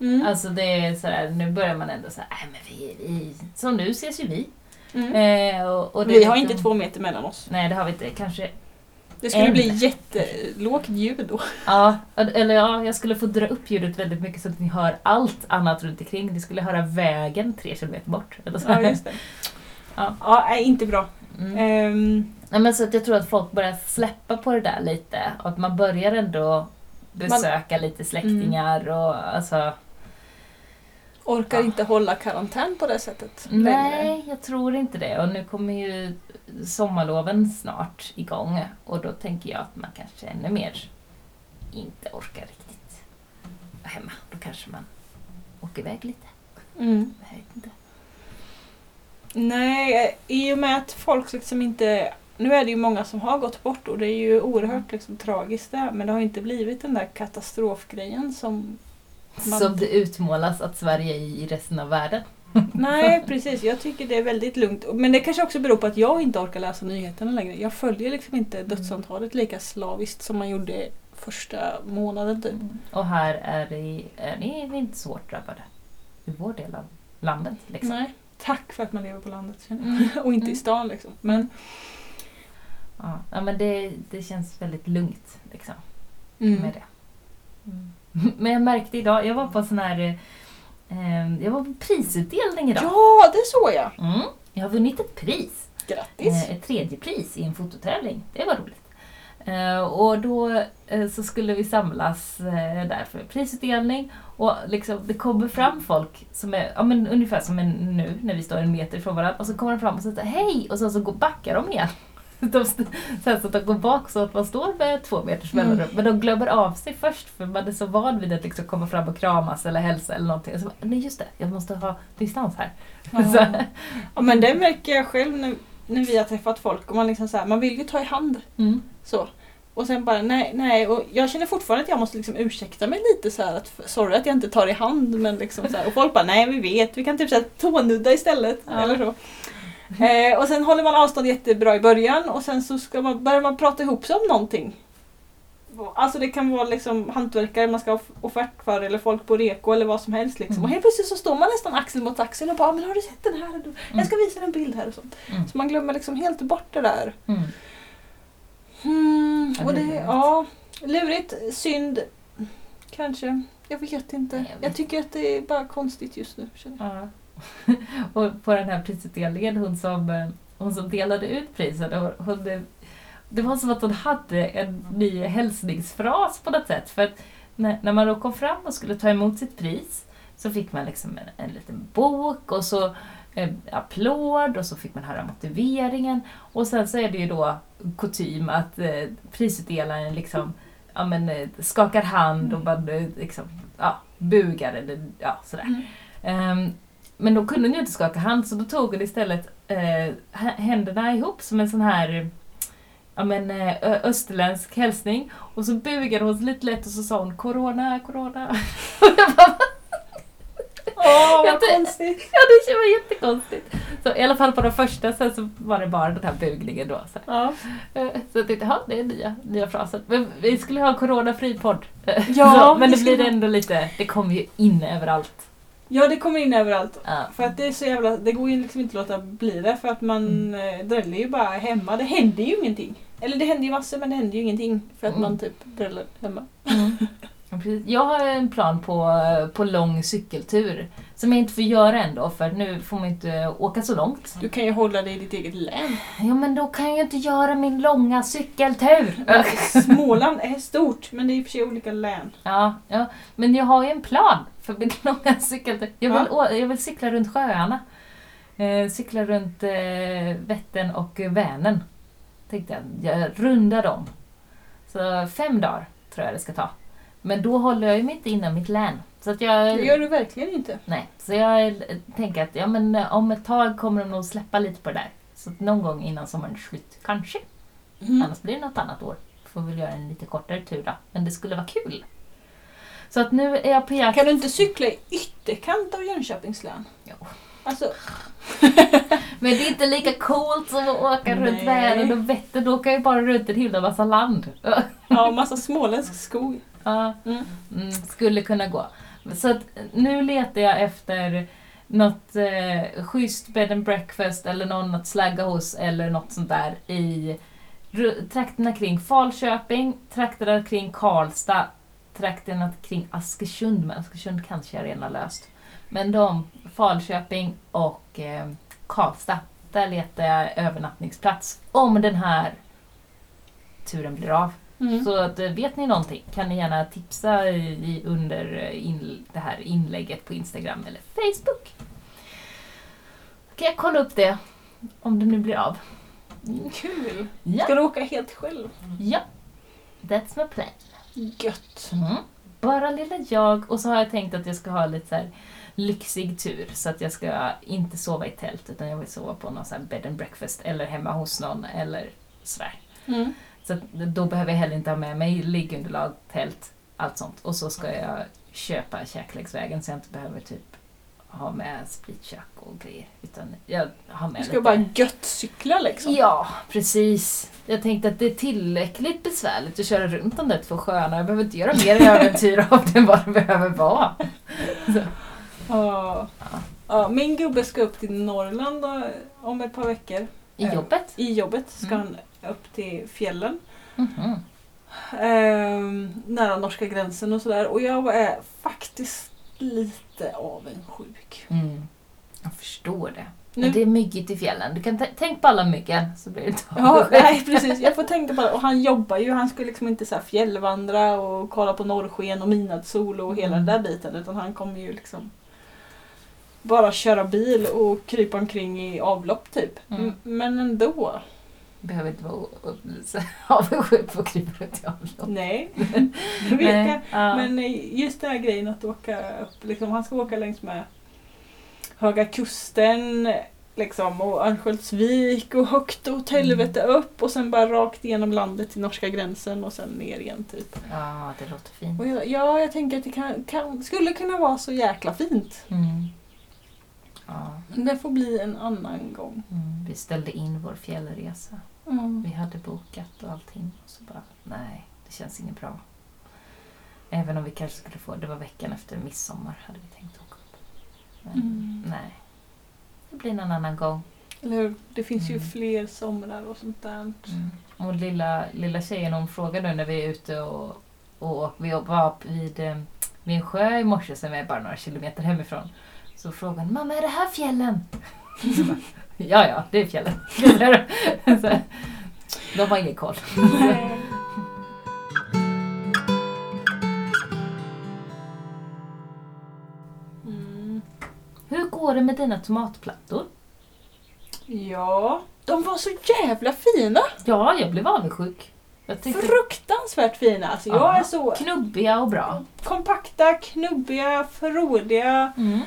B: Mm.
A: Alltså det är sådär, nu börjar man ändå såhär, nej men vi, vi, som nu ses ju vi.
B: Mm.
A: Eh, och, och det
B: vi
A: är
B: har
A: liksom-
B: inte två meter mellan oss.
A: Nej det har vi inte, kanske
B: Det skulle
A: en.
B: bli jättelågt ljud då.
A: Ja, eller ja, jag skulle få dra upp ljudet väldigt mycket så att ni hör allt annat runt omkring. Ni skulle höra vägen tre kilometer bort. Eller så.
B: Ja, just det.
A: Ja.
B: Ja, nej, inte bra.
A: Mm.
B: Ehm,
A: Nej, men så att jag tror att folk börjar släppa på det där lite och att man börjar ändå besöka lite släktingar
B: Mm.
A: och alltså...
B: orkar
A: Ja.
B: inte hålla karantän på det sättet längre.
A: Nej, jag tror inte det. Och nu kommer ju sommarloven snart igång och då tänker jag att man kanske ännu mer inte orkar riktigt vara hemma. Då kanske man åker iväg lite.
B: Mm.
A: Jag vet inte.
B: Nej, eh, i och med att folk liksom inte... Nu är det ju många som har gått bort och det är ju oerhört liksom, tragiskt det här, men det har inte blivit den där katastrofgrejen som... Man-
A: Som det utmålas att Sverige är i resten av världen.
B: Nej, precis. Jag tycker det är väldigt lugnt. Men det kanske också beror på att jag inte orkar läsa nyheterna längre. Jag följer liksom inte
A: Mm.
B: dödsantalet lika slaviskt som man gjorde första månaden typ.
A: Och här är det, är ni inte svårt drabbade. I vår del av landet. Liksom.
B: Nej. Tack för att man lever på landet känner
A: Mm.
B: jag. Och inte i
A: Mm.
B: stan liksom. Men,
A: Ja, ja, men det, det känns väldigt lugnt liksom,
B: Mm.
A: med det. Mm. Men jag märkte idag, jag var på sån här eh, eh, jag var på prisutdelning idag.
B: Ja, det såg jag!
A: Mm, jag har vunnit ett pris.
B: Grattis!
A: Eh, ett tredje pris i en fototävling. Det var roligt. Eh, och då eh, så skulle vi samlas eh, där för prisutdelning och liksom, det kommer fram folk som är ja, men ungefär som en, nu när vi står en meter ifrån varandra och så kommer de fram och säger hej och sen så går, backar de igen. De, st- så här så att de går bak så att man står med två meters
B: Mm.
A: mellanrum. Men de glömmer av sig först för man är så van vid att liksom komma fram och kramas eller hälsa eller någonting. Så, bara, Nej just det, jag måste ha distans här. Så,
B: Ja. Ja, men det märker jag själv när, när vi har träffat folk. Och man, liksom så här, man vill ju ta i hand
A: mm.
B: så. Och sen bara nej, nej. Och jag känner fortfarande att jag måste liksom ursäkta mig lite så här att sorry att jag inte tar i hand. Men liksom så här. Och folk bara nej vi vet, vi kan typ så här, tånudda istället.
A: Ja.
B: Eller så. Eh, och sen håller man avstånd jättebra i början och sen så ska man, börjar man prata ihop sig om någonting. Alltså det kan vara liksom hantverkare man ska ha offert för eller folk på reko eller vad som helst. Liksom.
A: Mm.
B: Och helt plötsligt så står man nästan axel mot axel och bara "Ah, men har du sett den här? Jag ska visa dig en bild här och sånt.
A: Mm.
B: Så man glömmer liksom helt bort det där.
A: Mm.
B: Mm,
A: Ja,
B: och
A: det är
B: det,
A: lurigt.
B: ja, lurigt, synd, kanske. Jag vet inte.
A: Nej,
B: jag,
A: jag vet.
B: tycker att det är bara konstigt just nu. Känner jag.
A: Ja. och på den här prisutdelningen, hon som, eh, hon som delade ut priset, och hon, eh, det var som att hon hade en ny hälsningsfras på något sätt. För att när, när man då kom fram och skulle ta emot sitt pris så fick man liksom en, en liten bok och så eh, applåd och så fick man höra motiveringen. Och sen så är det ju då kutym att eh, prisutdelaren liksom ja, men, eh, skakar hand och man eh, liksom, ja, bugar eller ja, sådär.
B: Mm.
A: Ehm, men då kunde hon ju inte skaka hand så då tog hon istället eh, hä- händerna ihop som en sån här ja, men, eh, ö- österländsk hälsning och så bugade hon sig lite lätt och så sa hon corona, corona. Och jag bara,
B: Åh,
A: Jag
B: vad
A: ty-
B: konstigt!
A: ja, det var jättekonstigt. Så, I alla fall på de första, sen så var det bara den här bugningen då. Så,
B: Ja,
A: eh, så jag tänkte, ja det är nya, nya frasen. Men vi skulle ha en coronafri podd.
B: Ja,
A: så, men
B: det
A: det
B: skulle
A: blir ändå lite, det kommer ju in överallt.
B: ja det kommer in överallt.
A: Ja.
B: För att det är så jävla, det går ju liksom inte att låta bli det för att man eh, dräller ju bara hemma. Det händer ju ingenting. Eller det händer ju massor men det händer ju ingenting för att
A: Mm.
B: man typ dräller hemma.
A: Ja, precis. Jag har en plan på, på lång cykeltur som jag inte får göra än då för nu får man ju inte åka så långt.
B: Du kan ju hålla dig i ditt eget län.
A: Ja men då kan jag inte göra min långa cykeltur!
B: Småland är stort men det är i och för sig olika län.
A: Ja, ja. Men jag har ju en plan för min långa cykeltur. Jag vill, å- jag vill cykla runt sjöarna. Eh, cykla runt eh, Vättern och Vänern. Tänkte jag, jag rundar dem. Så fem dagar tror jag det ska ta. Men då håller jag ju mig inte inom mitt län. Så att jag...
B: Det gör du verkligen inte.
A: Nej, så jag eh, tänker att ja, men eh, om ett tag kommer de nog släppa lite på det där. Så att någon gång innan sommarens slut, kanske.
B: Mm.
A: Annars blir det något annat år. Får väl göra en lite kortare tur då. Men det skulle vara kul. Så att nu är jag på jakt.
B: Kan du inte cykla i ytterkant av Jönköpings län?
A: Jo.
B: Alltså,
A: Men det är inte lika coolt som att åka
B: Nej.
A: runt världen och Vättern. Då åker jag ju bara runt en himla massa land.
B: ja, massa småländsk skog.
A: Ja,
B: Mm.
A: mm, skulle kunna gå. Så att nu letar jag efter något eh, schysst bed and breakfast eller någon att slagga hos eller något sånt där i Ru- Trakterna kring Falköping, trakterna kring Karlstad, trakterna kring Askersund, men Askersund kanske är rena löst. Men de, Falköping och eh, Karlstad, där letar jag övernattningsplats. Om den här turen blir av.
B: Mm.
A: Så att, eh, vet ni någonting kan ni gärna tipsa i, under eh, in, det här inlägget på Instagram eller Facebook. Kan jag kolla upp det? Om det nu blir av. Mm.
B: Kul!
A: Ja.
B: Ska du åka helt själv?
A: Ja, that's my plan.
B: Gött!
A: Mm. Bara lilla jag och så har jag tänkt att jag ska ha lite så här lyxig tur så att jag ska inte sova i tält utan jag vill sova på någon så här bed and breakfast eller hemma hos någon eller sådär.
B: Mm.
A: Så att då behöver jag heller inte ha med mig liggunderlag, tält, allt sånt. Och så ska jag köpa käkläggsvägen så jag inte behöver typ ha med spritkök och grejer. Utan jag har med
B: Du ska
A: lite-
B: bara gött cykla liksom.
A: Ja, precis. Jag tänkte att det är tillräckligt besvärligt att köra runt de där två sjöarna. Jag behöver inte göra mer äventyr av det än vad det behöver vara.
B: Ja. Ja, min gubbe ska upp till Norrland eh, om ett par veckor.
A: I
B: Ja.
A: jobbet?
B: I jobbet ska
A: Mm.
B: han upp till fjällen.
A: Mhm.
B: ehm, nära norska gränsen och sådär. Och jag är faktiskt lite avundsjuk.
A: Mm. Jag förstår det.
B: Nu-
A: Men det är myggigt i fjällen. Du kan t- tänk på alla myggen så blir det inte
B: Ja,
A: av.
B: nej precis. Jag får tänka på det. Och han jobbar ju. Han ska liksom inte så här fjällvandra och kolla på norrsken och midnattssol och hela den där biten. Utan han kommer ju liksom bara köra bil och krypa omkring i avlopp typ.
A: Mm.
B: M- Men ändå.
A: Behöver inte vara o- o- så avundsjuk på att krypa runt i avlopp.
B: Nej. Det vet jag.
A: ja.
B: Men eh, just den här grejen att åka upp, liksom, han ska åka längs med Höga Kusten liksom, och Örnsköldsvik och högt åt
A: Mm.
B: helvete upp och sen bara rakt igenom landet till norska gränsen och sen ner igen typ.
A: ja, det låter fint.
B: Och jag, ja, jag tänker att det kan, kan, skulle kunna vara så jäkla fint.
A: Mm. Ja,
B: Men Det får bli en annan gång.
A: mm. Vi ställde in vår fjällresa.
B: Mm.
A: Vi hade bokat och allting. Och så bara, nej, det känns inget bra. Även om vi kanske skulle få, det var veckan efter midsommar hade vi tänkt åka upp. Men
B: Mm.
A: nej, det blir någon annan gång.
B: Eller hur? Det finns ju
A: Mm.
B: fler somrar och sånt där.
A: Och lilla, lilla tjejen hon frågar nu när vi är ute och, och vi var upp vid, eh, vid en sjö i morse som är bara några kilometer hemifrån. Så frågar hon, mamma är det här fjällen? Så bara, ja, ja, det är fjällen. Så, de har ingen koll.
B: Mm.
A: Hur går det med dina tomatplattor?
B: Ja, de var så jävla fina!
A: Ja, jag blev avundsjuk. Jag tyckte
B: Fruktansvärt fina! Alltså, jag
A: Ja.
B: är så
A: knubbiga och bra.
B: kompakta, knubbiga, frodiga,
A: Mm.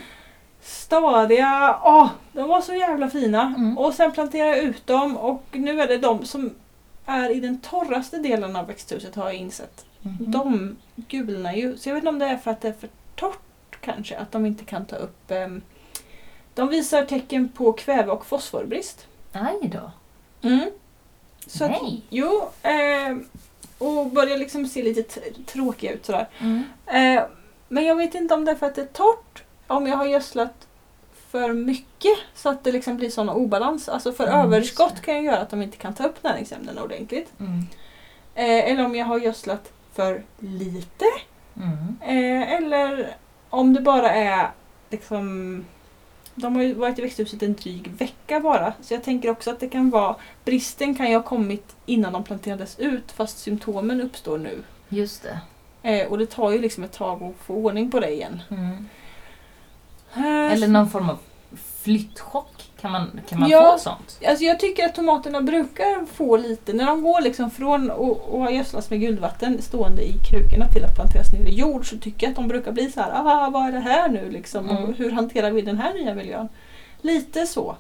B: stadiga. Åh, de var så jävla fina!
A: Mm.
B: Och sen planterade jag ut dem och nu är det de som är i den torraste delen av växthuset har jag insett.
A: Mm.
B: De gulnar ju. Så jag vet inte om det är för att det är för torrt kanske, att de inte kan ta upp... ehm, de visar tecken på kväve och fosforbrist.
A: Aj då.
B: Mm. Så att,
A: Nej.
B: jo, ehm, och börjar liksom se lite t- tråkiga ut sådär.
A: Mm.
B: Eh, men jag vet inte om det är för att det är torrt, om jag har gödslat för mycket så att det liksom blir sån obalans. Alltså för
A: Mm, just
B: överskott kan ju göra att de inte kan ta upp näringsämnena ordentligt.
A: Mm.
B: Eh, eller om jag har gödslat för lite.
A: Mm.
B: Eh, eller om det bara är liksom... De har ju varit i växthuset en dryg vecka bara. Så jag tänker också att det kan vara... Bristen kan ju ha kommit innan de planterades ut fast symptomen uppstår nu.
A: Just det.
B: Eh, och det tar ju liksom ett tag att få ordning på det igen.
A: Mm.
B: Eh,
A: Eller någon form av flyttchock. Kan man, kan man
B: Ja.
A: få sånt?
B: Alltså jag tycker att tomaterna brukar få lite, när de går liksom från att ha gödslats med guldvatten stående i krukorna till att planteras ner i jord så tycker jag att de brukar bli så här, ah vad är det här nu liksom och
A: Mm.
B: hur hanterar vi den här nya miljön? Lite så.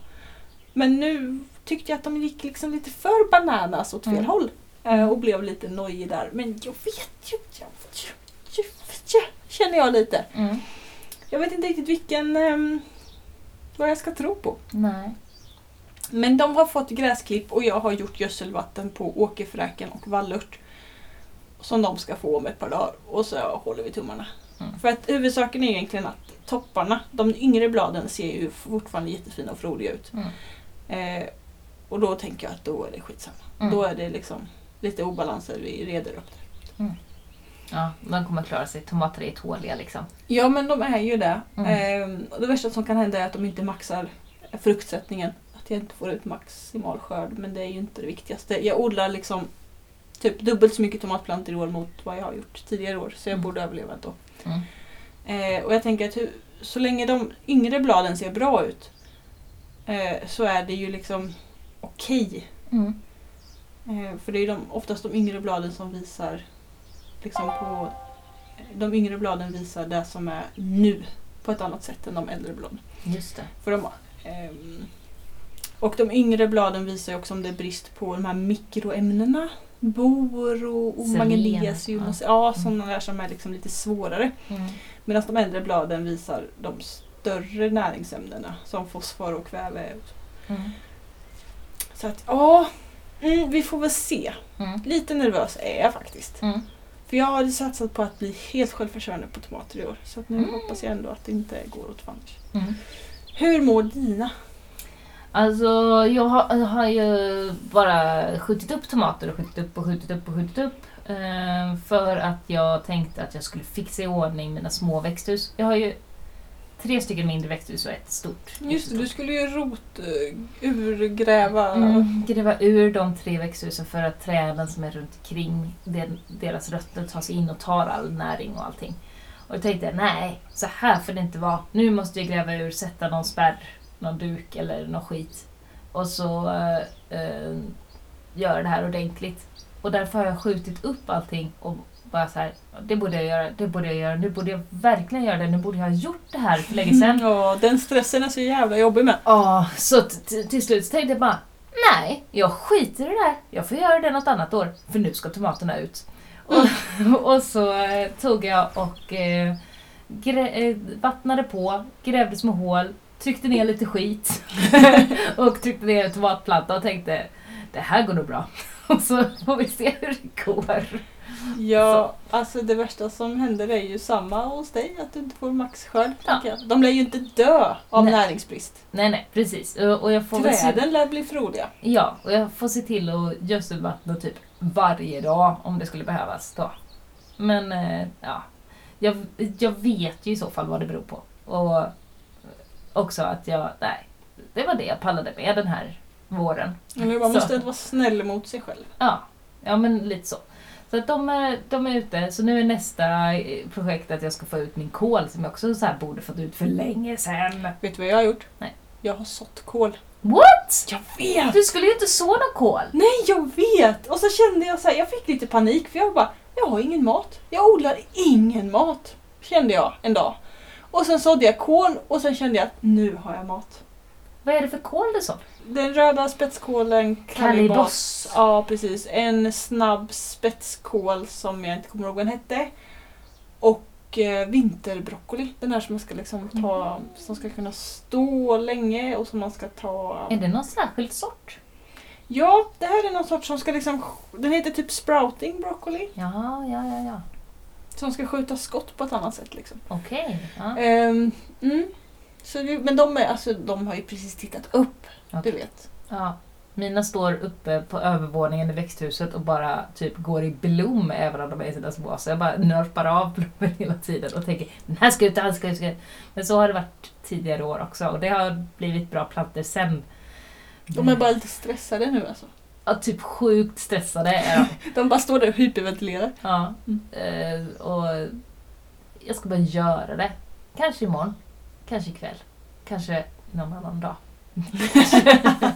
B: Men nu tyckte jag att de gick liksom lite för bananas åt fel
A: Mm.
B: håll eh, och blev lite nojig där. Men jag vet ju, jag vet ju, jag vet ju, känner jag lite.
A: Mm.
B: Jag vet inte riktigt vilken, ehm, vad jag ska tro på.
A: Nej.
B: Men de har fått gräsklipp och jag har gjort gödselvatten på åkerfräken och vallört. Som de ska få om ett par dagar. Och så håller vi tummarna.
A: Mm.
B: För att huvudsaken är egentligen att topparna, de yngre bladen ser ju fortfarande jättefina och frodiga ut.
A: Mm.
B: Eh, Och då tänker jag att då är det skitsamma.
A: Mm.
B: Då är det liksom lite obalanser vi reder upp. det.
A: Ja, de kommer klara sig. Tomater är tåliga liksom.
B: Ja men de är ju det.
A: Mm.
B: Ehm, och det värsta som kan hända är att de inte maxar fruktsättningen. Att jag inte får ut maximal skörd men det är ju inte det viktigaste. Jag odlar liksom typ dubbelt så mycket tomatplantor i år mot vad jag har gjort tidigare år så jag
A: Mm.
B: borde överleva ändå.
A: Mm.
B: Eh, och jag tänker att hur, så länge de yngre bladen ser bra ut eh, så är det ju liksom okej.
A: Mm.
B: Eh, För det är de, oftast de yngre bladen som visar liksom på de yngre bladen visar det som är nu på ett annat sätt än de äldre bladen.
A: Just det.
B: För de, ehm, och de yngre bladen visar ju också om det är brist på de här mikroämnena. Bor och, och
A: Selen,
B: magnesium
A: ja.
B: och ja, sådana där som är liksom lite svårare.
A: Mm.
B: Medan de äldre bladen visar de större näringsämnena som fosfor och kväve.
A: Mm.
B: Så att ja, mm, vi får väl se.
A: Mm.
B: Lite nervös är jag faktiskt.
A: Mm.
B: För jag hade satsat på att bli helt självförsörjande på tomater i år. Så att nu
A: Mm.
B: hoppas jag ändå att det inte går åt fanders.
A: Mm.
B: Hur mår dina?
A: Alltså jag har, jag har ju bara skjutit upp tomater och skjutit upp och skjutit upp och skjutit upp. Eh, för att jag tänkte att jag skulle fixa i ordning mina små växthus. Jag har ju tre stycken mindre växthus och ett stort.
B: Just det, du skulle ju rot, eh, urgräva.
A: Mm, gräva ur de tre växthusen för att träden som är runt omkring den- deras rötter tar sig in och tar all näring och allting. Och jag tänkte, nej, så här får det inte vara. Nu måste jag gräva ur, sätta någon spärr, någon duk eller någon skit. Och så eh, eh, göra det här ordentligt. Och därför har jag skjutit upp allting och bara så här, det borde jag göra, det borde jag göra, nu borde jag verkligen göra det, nu borde jag ha gjort det här för länge sedan.
B: Ja, den stressen är så jävla jobbig med.
A: Ja, så t- t- till slut så tänkte jag bara Nej, jag skiter i det där. Jag får göra det något annat år, för nu ska tomaterna ut. Och, och så eh, tog jag och eh, grä- eh, vattnade på, grävde små hål, tryckte ner lite skit och tryckte ner en tomatplanta och tänkte det här går nog bra. Och så får vi se hur det går.
B: Ja, alltså det värsta som händer är ju samma hos dig, att du inte får maxskörd.
A: Ja.
B: tänker jag. De lär ju inte dö av
A: Nej.
B: näringsbrist.
A: Nej, nej, precis. Och, och jag får väl se-
B: Träden lär bli frodiga.
A: Ja, och jag får se till att gödselvattna typ varje dag om det skulle behövas då. Men eh, ja, jag, jag vet ju i så fall vad det beror på. Och också att jag, nej, det var det jag pallade med den här våren.
B: Eller man
A: Så.
B: måste vara snäll mot sig själv.
A: Ja, ja men lite så. Så att de är, de är ute, så nu är nästa eh, projekt att jag ska få ut min kål som jag också så här borde fått ut för länge sedan.
B: Vet du vad jag har gjort?
A: Nej.
B: Jag har sått kål.
A: What?
B: Jag vet!
A: Du skulle ju inte så någon kål!
B: Nej, jag vet! Och så kände jag så här, jag fick lite panik för jag bara, jag har ingen mat. Jag odlar ingen mat, kände jag en dag. Och sen sådde jag kål och sen kände jag att nu har jag mat.
A: Vad är det för kål du såg?
B: Den röda spetskålen
A: Kalibos.
B: Kalibos. Ja, precis. En snabb spetskål som jag inte kommer ihåg vad den hette. Och eh, vinterbroccoli. Den här som man ska liksom ta, som ska kunna stå länge och som man ska ta...
A: Är det någon särskild sort?
B: Ja, det här är någon sorts som ska liksom... Den heter typ sprouting broccoli.
A: Ja, ja, ja, ja.
B: Som ska skjuta skott på ett annat sätt. Liksom.
A: Okej. Ja.
B: Ehm, mm. Så det, men de, är, alltså, de har ju precis tittat upp,
A: Okej.
B: du vet.
A: ja. Mina står uppe på övervåningen i växthuset och bara typ går i blom även om de är i sina små. Så jag bara nörpar av blommor hela tiden och tänker den här ska ut, den här ska ut, den ska ut. Men så har det varit tidigare år också och det har blivit bra plantor sen.
B: De är bara lite stressade nu alltså.
A: ja, typ sjukt stressade är de.
B: De bara står där och hyperventilerar.
A: Ja.
B: Mm.
A: Eh, och jag ska bara göra det. Kanske imorgon. Kanske ikväll. Kanske någon annan dag.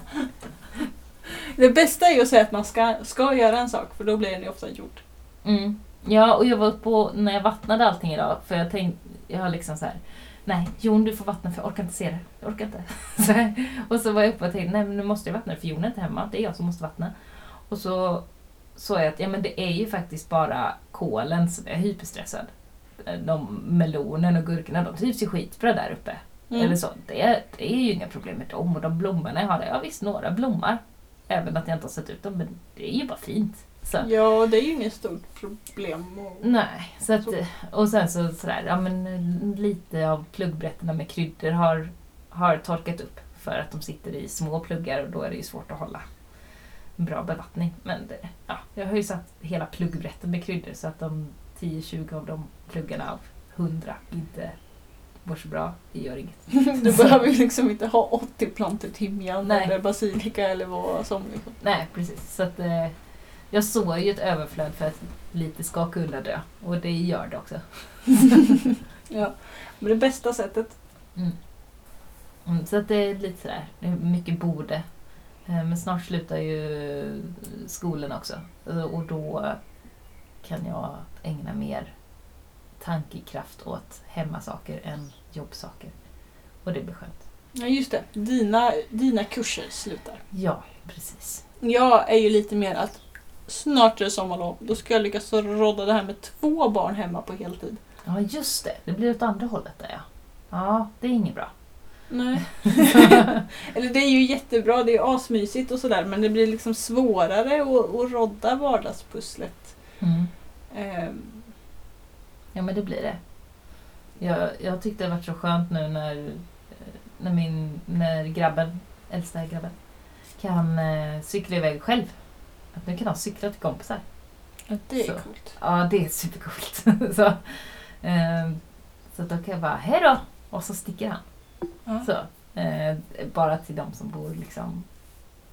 B: Det bästa är ju att säga att man ska, ska göra en sak, för då blir den ju ofta gjord.
A: Mm. Ja, och jag var uppe och, när jag vattnade allting idag, för jag tänkte, jag har liksom så här. Nej, Jon du får vattna för jag orkar inte se det. Jag orkar inte. Så här. Och så var jag uppe och tänkte, nej men nu måste jag vattna det för Jon är inte hemma. Det är jag som måste vattna. Och så såg jag att, ja men det är ju faktiskt bara kolen som är hyperstressad. De melonen och gurkorna, de trivs ju skitbra där uppe.
B: Mm.
A: Eller så. Det, det är ju inga problem med dem. Och de blommorna jag har där, ja visst några blommar. Även att jag inte har sett ut dem, men det är ju bara fint. Så.
B: Ja, det är ju inget stort problem. Och...
A: Nej, så att, och sen så sådär, ja men lite av pluggbrätterna med kryddor har, har torkat upp. för att de sitter i små pluggar och då är det ju svårt att hålla bra bevattning. Men det, ja, jag har ju satt hela pluggbrätten med kryddor så att de 10-20 av de pluggarna av 100 inte går så bra. Det gör inget.
B: Du behöver ju liksom inte ha 80 plantor timjan
A: Mm. Nej.
B: eller basilika eller vad som. liksom.
A: Nej, precis. Så att, eh, jag såg ju ett överflöd för att lite ska kunna dö och det gör det också.
B: Ja. Men det bästa sättet.
A: Mm, så att det är lite sådär, det är mycket borde. Eh, Men snart slutar ju skolan också Eh, och då kan jag ägna mer tankekraft åt hemmasaker än jobbsaker. Och det blir skönt.
B: Ja just det, dina, dina kurser slutar.
A: Ja, precis.
B: Jag är ju lite mer att snart är det sommarlov, då ska jag lyckas rodda det här med två barn hemma på heltid.
A: Ja, just det. Det blir åt andra hållet där ja. Ja, det är inget bra.
B: Nej. Eller det är ju jättebra, det är ju asmysigt och sådär men det blir liksom svårare att, att rodda vardagspusslet.
A: Mm.
B: Ehm,
A: Ja men det blir det. Jag, jag tyckte det var så skönt nu när, eh, när, min, när grabben, äldsta grabben, kan eh, cykla iväg själv. Att nu kan han cykla till kompisar.
B: ja, det är
A: Så.
B: coolt.
A: Ja det är supercoolt. så, eh, så att då kan jag bara hej då och så sticker han.
B: Ja.
A: Så, eh, bara till de som bor liksom.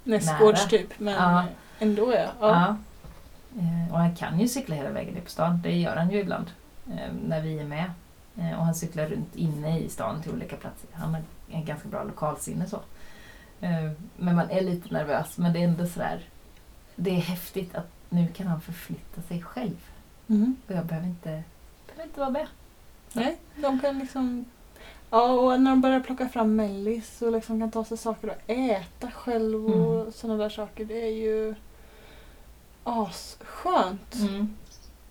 B: Nästgårds
A: Nära.
B: typ men
A: Ja.
B: ändå ja.
A: Ja.
B: ja.
A: Eh, och han kan ju cykla hela vägen upp på stan. Det gör han ju ibland eh, när vi är med. Eh, och han cyklar runt inne i stan till olika platser. Han har en ganska bra lokalsinne så. Eh, men man är lite nervös. Men det är ändå sådär. Det är häftigt att nu kan han förflytta sig själv.
B: Mhm.
A: Och jag behöver inte, behöver inte vara med.
B: Nej, de kan liksom... Ja, och när de börjar plocka fram mellis och liksom kan ta sig saker att äta själv och
A: Mm.
B: sådana där saker. Det är ju asskönt.
A: Mm.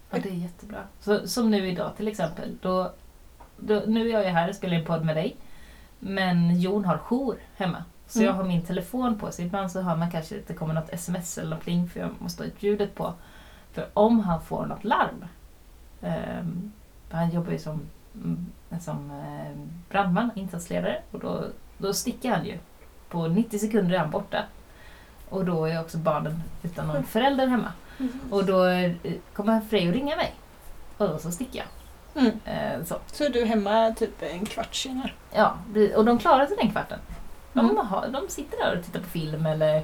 A: Ja, det är jättebra. Så, som nu idag till exempel. Då, då, nu är jag ju här och spelar in podd med dig. Men Jon har jour hemma. Så
B: Mm.
A: jag har min telefon på. Så ibland så hör man kanske att det kommer något sms eller något pling för jag måste ha ut ljudet på. För om han får något larm. ehm, för han jobbar ju som, mm, som eh, brandman, insatsledare. Och då, då sticker han ju. På 90 sekunder är han borta. Och då är också barnen utan någon förälder hemma.
B: Mm.
A: Och då eh, kommer Frej och ringa mig. Och då så sticker jag.
B: Mm.
A: Eh, så.
B: Så är du hemma typ en kvart senare.
A: Ja, det- och de klarar sig den kvarten. De,
B: Mm.
A: har, de sitter där och tittar på film eller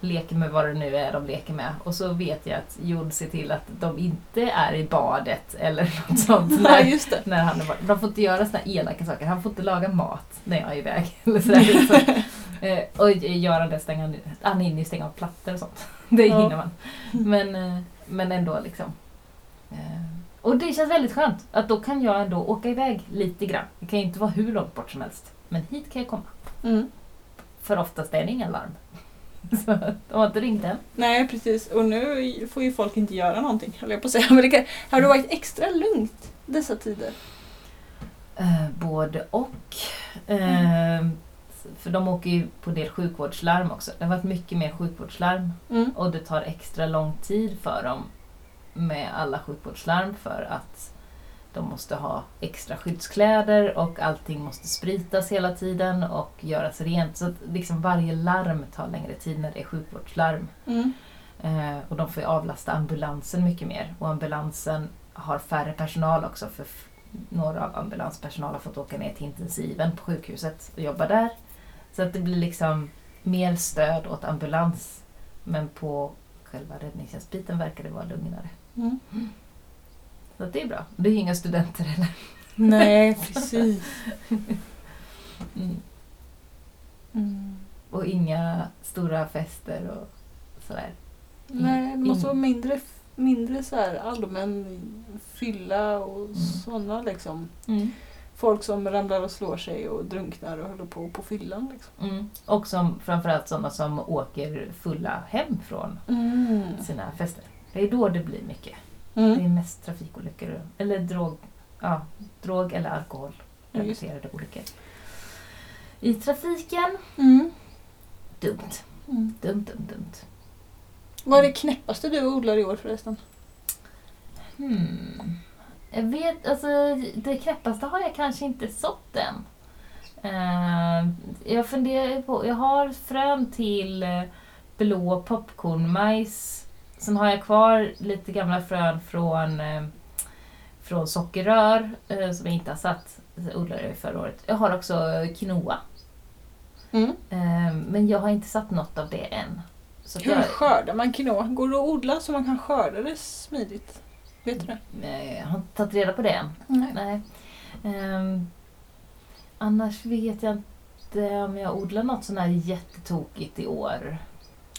A: leker med vad det nu är de leker med. Och så vet jag att Jord ser till att de inte är i badet eller något sånt.
B: Ja,
A: När,
B: just det.
A: när han är borta. De får inte göra såna elaka saker. Han får inte laga mat när jag är iväg. Eller sådär. Så, eh, och göra det, stänga, nu- han hinner ju stänga av plattor och sånt. Det
B: Ja.
A: hinner man. Men, eh, men ändå liksom. Eh, Och det känns väldigt skönt att då kan jag ändå åka iväg lite grann. Det kan ju inte vara hur långt bort som helst. Men hit kan jag komma.
B: Mm.
A: För oftast är det inga larm. Så de har inte ringt än.
B: Nej, precis. Och nu får ju folk inte göra någonting, höll jag på att säga. Men det kan, har det varit extra lugnt dessa tider?
A: Eh, både och. Eh, För de åker ju på en del sjukvårdslarm också. Det har varit mycket mer sjukvårdslarm
B: Mm.
A: och det tar extra lång tid för dem med alla sjukvårdslarm för att de måste ha extra skyddskläder och allting måste spritas hela tiden och göras rent. Så att liksom varje larm tar längre tid när det är sjukvårdslarm.
B: Mm.
A: Eh, och de får ju avlasta ambulansen mycket mer. Och ambulansen har färre personal också för f- några av ambulanspersonal har fått åka ner till intensiven på sjukhuset och jobba där. Så att det blir liksom mer stöd åt ambulans. Men på själva räddningstjänstbiten verkar det vara lugnare.
B: Mm.
A: Så att det är bra. Det är ju inga studenter heller.
B: Nej, precis.
A: Mm.
B: Mm.
A: Och inga stora fester och sådär.
B: Nej, det måste
A: Mm.
B: vara mindre, mindre så här allmän fylla och
A: Mm.
B: sådana liksom. Folk som ramlar och slår sig och drunknar och håller på på fyllan. Liksom.
A: Mm. Och som, framförallt sådana som åker fulla hem från
B: Mm.
A: sina fester. Det är då det blir mycket. Det är mest trafikolyckor. Eller drog, ja, drog eller
B: Ja, just
A: alkoholrelaterade olyckor. I trafiken.
B: Mm.
A: Dumt,
B: Mm.
A: dumt, dumt, dumt.
B: Vad är det knäppaste du odlar i år förresten?
A: Hmm. Jag vet, alltså det knäppaste har jag kanske inte sått än. Eh, jag funderar på, jag har frön till eh, blå popcornmajs. Sen har jag kvar lite gamla frön från, eh, från sockerrör eh, som jag inte har satt. Jag odlade det förra året. Jag har också eh, quinoa.
B: Mm.
A: Eh, men jag har inte satt något av det än. Så att
B: Hur
A: jag,
B: skördar man quinoa? Går det att odla så man kan skörda det smidigt? Vet du det?
A: eh, jag har inte tagit reda på det än.
B: Nej.
A: Nej. Ehm, annars vet jag inte om jag odlar något sånt här jättetokigt i år.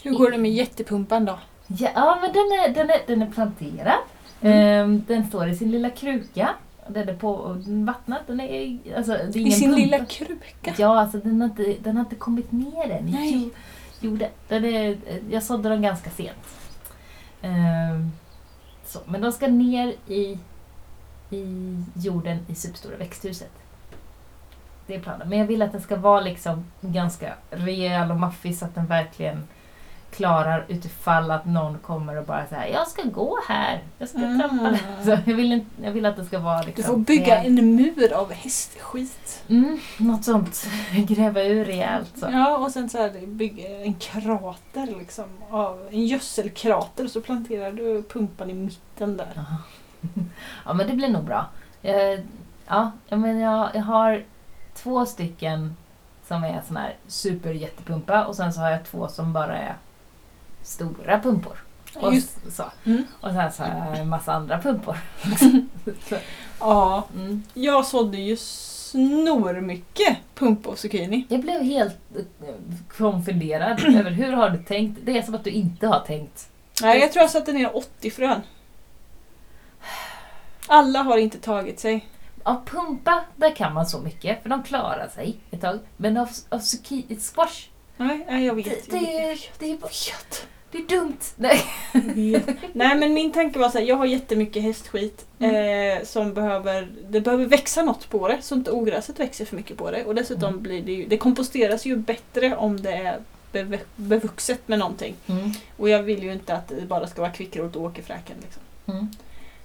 B: Hur går det med jättepumpan då?
A: Ja, ja men den är, den är, den är planterad.
B: Mm.
A: Ehm, den står i sin lilla kruka. Den är på den är vattnad. Den är, alltså, det är ingen
B: I sin
A: pump.
B: lilla kruka?
A: Ja, alltså den har inte, den har inte kommit ner än i
B: Nej.
A: jord- jorden. Den är, eh, jag sådde den ganska sent. Ehm, så, men de ska ner i, i jorden i superstora växthuset. Det är planen. Men jag vill att den ska vara liksom ganska rejäl och maffig så att den verkligen klarar utifall att någon kommer och bara säger jag ska gå här, jag ska
B: Mm.
A: trampa där." så jag, vill inte, jag vill att det ska vara liksom
B: Du får bygga
A: rejäl.
B: en mur av hästskit.
A: Mm, något sånt. Gräva ur rejält så.
B: Ja, och sen så här, bygga en krater liksom. Av, en gödselkrater så planterar du pumpan i mitten där.
A: Ja. ja, men det blir nog bra. Eh, Ja, jag, men jag, jag har två stycken som är sån här superjättepumpa och sen så har jag två som bara är stora pumpor. Och,
B: Just,
A: så.
B: Mm.
A: och sen så har jag en massa andra pumpor. så,
B: ja,
A: mm.
B: jag sådde ju snormycket pumpa och zucchini.
A: Jag blev helt eh, konfunderad över hur har du tänkt? Det är som att du inte har tänkt.
B: Nej, jag tror jag satte ner 80 frön. Alla har inte tagit sig.
A: Av pumpa, där kan man så mycket för de klarar sig ett tag. Men av, av zucchini, squash,
B: Nej, nej jag vet.
A: det,
B: jag vet.
A: det, är- det är
B: Vet.
A: Det är dumt. Nej.
B: Nej men min tanke var så här, jag har jättemycket hästskit eh, som behöver, det behöver växa något på det så inte ogräset växer för mycket på det. Och dessutom
A: Mm.
B: blir det ju, det komposteras ju bättre om det är beve- bevuxet med någonting. Och jag vill ju inte att det bara ska vara kvickrot och åkerfräken. Liksom.
A: Mm.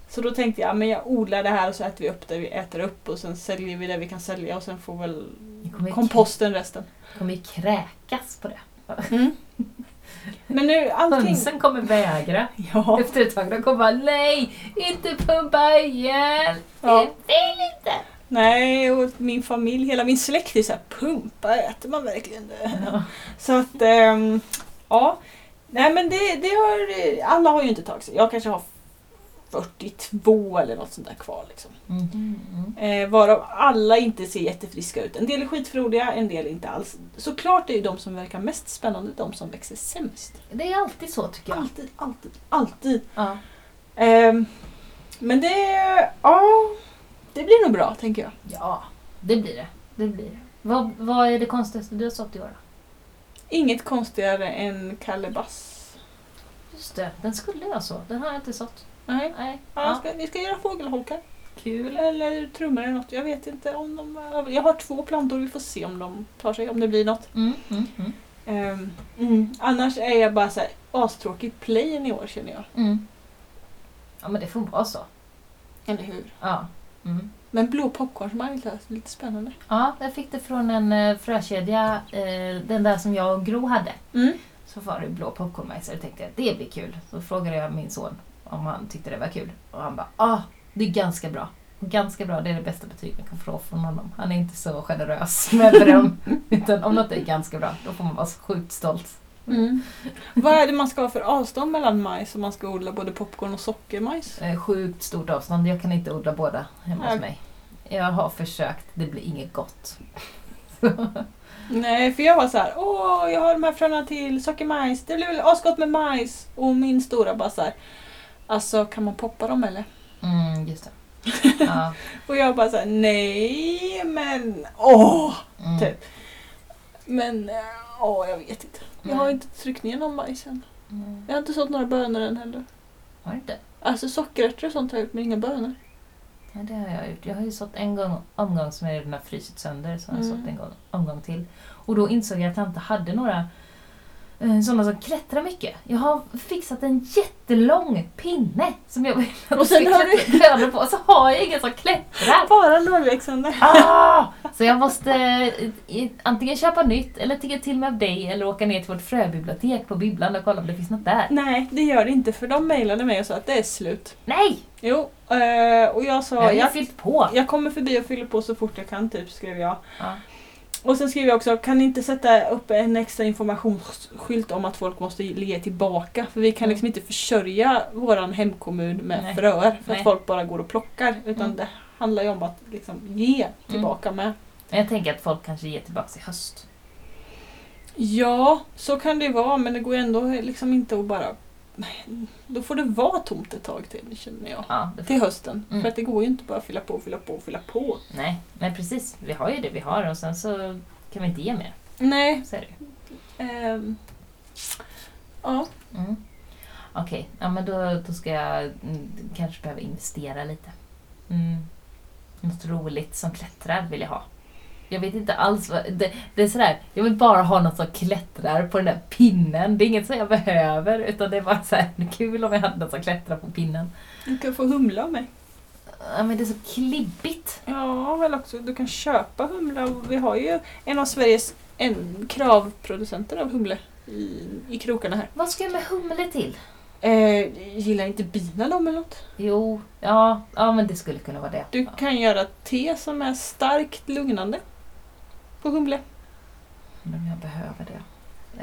B: Så då tänkte jag, men jag odlar det här och så äter vi upp det vi äter upp och sen säljer vi det vi kan sälja och sen får väl
A: Jag kommer ju,
B: komposten resten.
A: krä- kommer ju kräkas på det.
B: Men nu allting...
A: Hönsen kommer vägra
B: Ja.
A: efter ett tag. De kommer bara nej, inte pumpa igen.
B: Ja.
A: Jag vill inte.
B: Nej, och min familj, hela min släkt är så här, pumpa, äter man verkligen det?
A: Ja.
B: Så att, ehm, ja. Nej men det, det har, alla har ju inte tagit sig. Jag kanske har 42 eller något sånt där kvar liksom. Eh, varav alla inte ser jättefriska ut. En del är skitfrodiga, en del inte alls. Såklart är ju de som verkar mest spännande de som växer sämst.
A: Det är alltid så tycker jag.
B: Alltid, alltid, alltid.
A: Ja.
B: Ehm, men det, ja. Det blir nog bra tänker jag.
A: ja, det blir det. det, blir det. Vad, vad är det konstigaste du har sått i år då?
B: Inget konstigare än kalabas.
A: Just det, den skulle jag så. Den har jag inte sått.
B: Nej.
A: Nej.
B: Ja, jag ska, vi ska göra fågelholkar.
A: Kul.
B: Eller trummor eller något. Jag vet inte om de... Jag har två plantor, vi får se om de tar sig, om det blir något.
A: Mm, mm, mm.
B: Ehm, mm. Annars är jag bara så här astråkig plain i år känner jag.
A: Mm. Ja men det får vara så.
B: Eller hur?
A: Ja. Mm.
B: Men blå popcornsmajs lät lite spännande.
A: Ja, jag fick det från en eh, frökedja, eh, den där som jag och Gro hade.
B: Mm.
A: Så var det blå popcornmajs och då tänkte jag det blir kul. Så frågade jag min son om han tyckte det var kul och han bara ah, det är ganska bra. Och ganska bra, det är det bästa betyg man kan få från honom. Han är inte så generös med beröm. utan om något är ganska bra, då får man vara så sjukt stolt.
B: Mm. Vad är det man ska ha för avstånd mellan majs om man ska odla både popcorn och sockermajs?
A: Eh, Sjukt stort avstånd, jag kan inte odla båda hemma
B: Nej.
A: hos mig. Jag har försökt, det blir inget gott.
B: Nej, för jag var så här, åh, jag har de här fröna till sockermajs, det blir väl asgott med majs. Och min stora bara så här, alltså kan man poppa dem eller?
A: Mm, just det. Ja.
B: Och jag bara såhär, nej men åh!
A: Mm.
B: Typ. Men eh, åh, jag vet inte. Jag har inte tryckt ner någon majs än.
A: Mm.
B: Jag har inte sått några bönor än heller.
A: Har du inte?
B: Alltså sockerärtor och sånt har jag gjort, men inga bönor.
A: Ja, det har jag gjort. Jag har ju sått en gång, omgång som jag redan har frusit sönder, så har jag
B: Mm.
A: sått en gång, omgång till. Och då insåg jag att jag inte hade några eh, sådana som klättrar mycket. Jag har fixat en jättelång pinne som jag vill att
B: Och sen
A: ska
B: har du-
A: klättra över på, så har jag ingen som klättrar.
B: Bara lågväxande.
A: Ah! Så jag måste eh, i- antingen köpa nytt, eller tigga till mig av dig, eller åka ner till vårt fröbibliotek på bibblan och kolla om det finns något där.
B: Nej, det gör det inte för de mejlade mig och sa att det är slut.
A: Nej!
B: Jo, eh, och jag
A: Jag har
B: sa
A: ju
B: jag,
A: fyllt på.
B: jag kommer förbi och fyller på så fort jag kan, typ, skrev jag.
A: Ja.
B: Och sen skrev jag också, kan ni inte sätta upp en extra informationsskylt om att folk måste ge tillbaka? För vi kan liksom inte försörja våran hemkommun med
A: Mm. Nej.
B: fröer för att
A: Nej.
B: folk bara går och plockar. Utan
A: Mm.
B: det handlar ju om att liksom ge tillbaka med.
A: Men jag tänker att folk kanske ger tillbaka i höst.
B: Ja, så kan det ju vara men det går ju ändå liksom inte att bara... Då får det vara tomt ett tag till känner jag.
A: Ja, det
B: Till hösten.
A: Mm.
B: För att det går ju inte bara att fylla på, fylla på, fylla på.
A: Nej, men precis. Vi har ju det vi har och sen så kan vi inte ge mer.
B: Nej.
A: Så är det ju.
B: ehm, ja.
A: Mm. Okej, ja, men då, då ska jag mm, kanske behöva investera lite. Mm. Något roligt som klättrar vill jag ha. Jag vet inte alls vad... Det, det är sådär, jag vill bara ha något som klättrar på den där pinnen. Det är inget som jag behöver utan det är bara såhär, kul om jag hade något som klättrar på pinnen.
B: Du kan få humla av mig.
A: Ja, men det är så klibbigt.
B: Ja, eller också du kan köpa humla. och Vi har ju en av Sveriges en, kravproducenter av humle i, i krokarna här.
A: Vad ska jag med humle till?
B: Eh, gillar inte bina dem eller något?
A: Jo, ja, ja men det skulle kunna vara det.
B: Du
A: Ja.
B: kan göra te som är starkt lugnande på humle.
A: Men jag behöver det.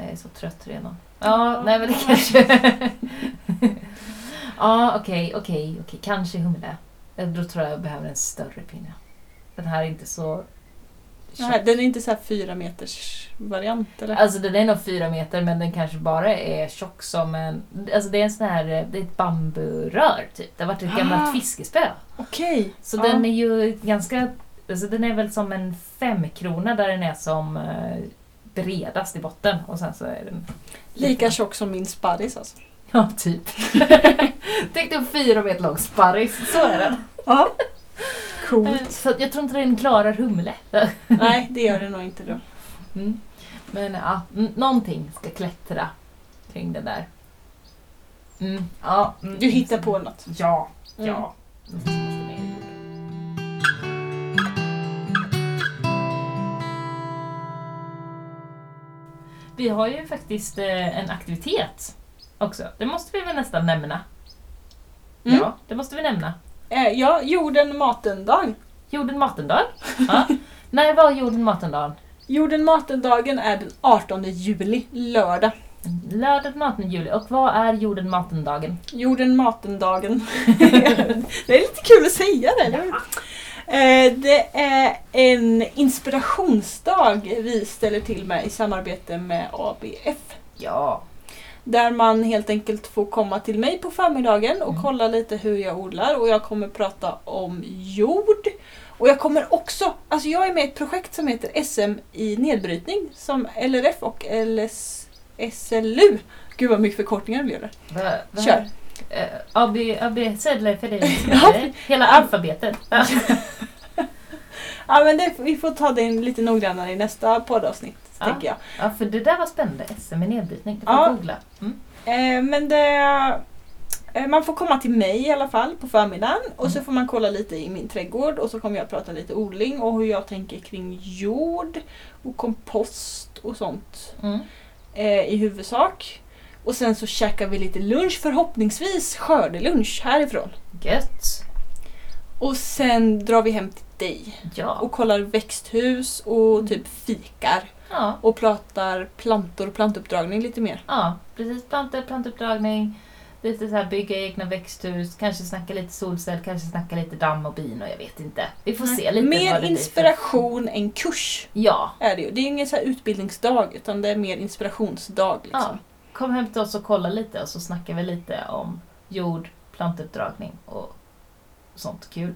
A: Jag är så trött redan. Ja, nej men det kanske... ja, okej, okej, okej. Kanske humle. Eh, Då tror jag jag behöver en större pinne. Den här är inte så...
B: Den här- Den är inte så här fyra meters variant eller?
A: Alltså den är nog fyra meter men den kanske bara är tjock som en... Alltså det är en sån här... eh, Det är ett bamburör typ. Det har varit ett gammalt
B: Ah.
A: fiskespö.
B: Okej.
A: Så
B: Ja.
A: den är ju ganska... Alltså den är väl som en femkrona där den är som eh, bredast i botten och sen så är den...
B: Lika tjock som min sparris alltså.
A: Ja, typ. Tänk dig en fyra meter lång sparris, så är den.
B: Ja. Cool.
A: Eh, Så att jag tror inte den klarar humle.
B: Nej, det gör det nog inte då.
A: Mm. Men ja, mm, någonting ska klättra kring den där. Mm, ja, mm.
B: Du hittar på något.
A: Ja,
B: Mm.
A: ja. Måste ner i jorden. Vi har ju faktiskt eh, en aktivitet också. Det måste vi väl nästan nämna.
B: Mm.
A: Ja, det måste vi nämna.
B: Eh, ja, jorden maten-dag.
A: Jorden matendag. Ja. När var jorden matendagen?
B: Jorden maten-dagen är den 18 juli, lördag.
A: Lördag den 18 juli. Och vad är jorden matendagen?
B: Jorden maten-dagen. det är lite kul att säga det, eller hur? Eh, Det är en inspirationsdag vi ställer till med i samarbete med ABF.
A: Ja.
B: Där man helt enkelt får komma till mig på förmiddagen och
A: Mm.
B: kolla lite hur jag odlar och jag kommer prata om jord. Och jag kommer också, alltså jag är med i ett projekt som heter SM i nedbrytning som LRF och LS, SLU. Gud vad mycket förkortningar det blev där.
A: Va, va,
B: Kör.
A: Eh, AB, AB Sedler för dig.
B: Ja.
A: E. Hela alfabetet. Ja.
B: Ja men det, vi får ta det in lite noggrannare i nästa poddavsnitt,
A: Ja.
B: tänker jag.
A: Ja, för det där var spännande. SM i nedbrytning. Det får
B: Ja.
A: jag googla. Mm.
B: Eh, men det... eh, Man får komma till mig i alla fall på förmiddagen och så
A: Mm.
B: får man kolla lite i min trädgård och så kommer jag prata lite odling och hur jag tänker kring jord och kompost och sånt
A: Mm.
B: eh, i huvudsak. Och sen så käkar vi lite lunch, förhoppningsvis skördelunch härifrån.
A: Gött.
B: Och sen drar vi hem till dig
A: Ja.
B: och kollar växthus
A: Mm.
B: och typ fikar
A: Ja,
B: och pratar plantor och plantuppdragning lite mer.
A: ja. precis. Plantor, plantuppdragning. Lite så här bygga egna växthus, kanske snacka lite solcell, kanske snacka lite damm och bin och jag vet inte. Vi får se lite vad det
B: Mer
A: blir för-
B: inspiration än kurs.
A: Ja,
B: är det ju. Det är ju ingen så här utbildningsdag utan det är mer inspirationsdag. Liksom.
A: Kom hem till oss och kolla lite och så snackar vi lite om jord, plantuppdragning och sånt kul.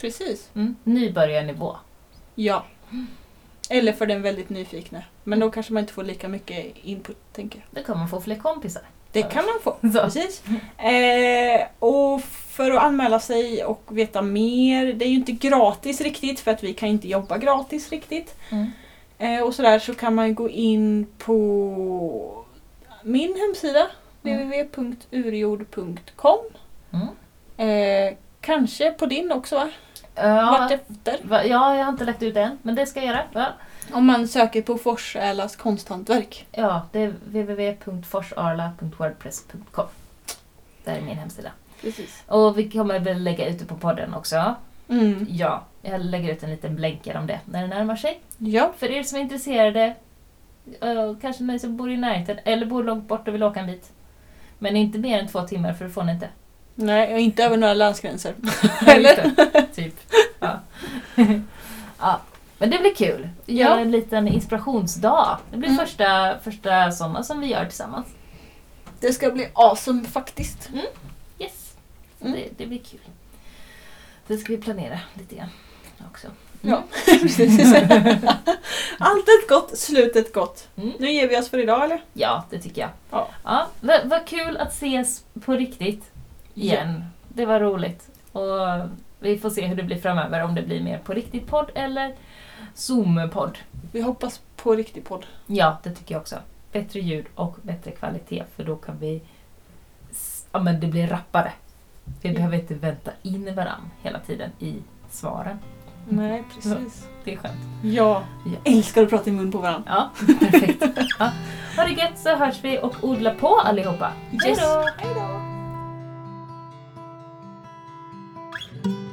B: Precis.
A: Mm. Nybörjarnivå.
B: Ja. Eller för den väldigt nyfikna. Men då kanske man inte får lika mycket input tänker jag.
A: Då kommer man få fler kompisar.
B: Det kan man få.
A: Så.
B: Precis. Eh, och för att anmäla sig och veta mer. Det är ju inte gratis riktigt för att vi kan inte jobba gratis riktigt.
A: Mm.
B: Eh, och sådär så kan man gå in på min hemsida
A: Mm.
B: www.urjord.com
A: Mm.
B: eh, Kanske på din också va?
A: Ja,
B: Vartefter.
A: va, ja, jag har inte lagt ut det än, men det ska jag göra. Va?
B: Om man söker på Forsälas konsthantverk.
A: Ja, det är www.forsarla.wordpress.com. Där är min hemsida.
B: Precis.
A: Och vi kommer väl lägga ut det på podden också.
B: Mm.
A: Ja, jag lägger ut en liten blänkare om det när det närmar sig.
B: Ja.
A: För er som är intresserade, eh, kanske ni som bor i närheten eller bor långt bort och vill åka en bit. Men inte mer än två timmar för det får ni inte.
B: Nej, och inte över några landsgränser.
A: Eller? typ. Ja. ja. Men det blir kul. Vi
B: Ja.
A: gör en liten inspirationsdag. Det blir
B: Mm.
A: första, första sådana som vi gör tillsammans.
B: Det ska bli awesome faktiskt.
A: Yes. Så
B: Mm.
A: Det, det blir kul. Det ska vi planera lite grann också.
B: Mm. Ja, precis. Allt ett gott, slutet gott.
A: Mm.
B: Nu ger vi oss för idag eller?
A: Ja, det tycker jag.
B: Ja.
A: Vad vad kul att ses på riktigt igen. Det var roligt. Och vi får se hur det blir framöver, om det blir mer på riktigt-podd eller Zoom-podd.
B: Vi hoppas på riktig podd.
A: Ja, det tycker jag också. Bättre ljud och bättre kvalitet för då kan vi... s- Ja men det blir rappare. Vi
B: Ja.
A: behöver inte vänta in varann hela tiden i svaren.
B: Nej, precis.
A: Det är skönt.
B: Ja.
A: Ja.
B: Älskar att prata i mun på varandra.
A: Ja, perfekt. Ja. Ha det gött så hörs vi och odla på allihopa.
B: Yes.
A: Hejdå!
B: Hej då!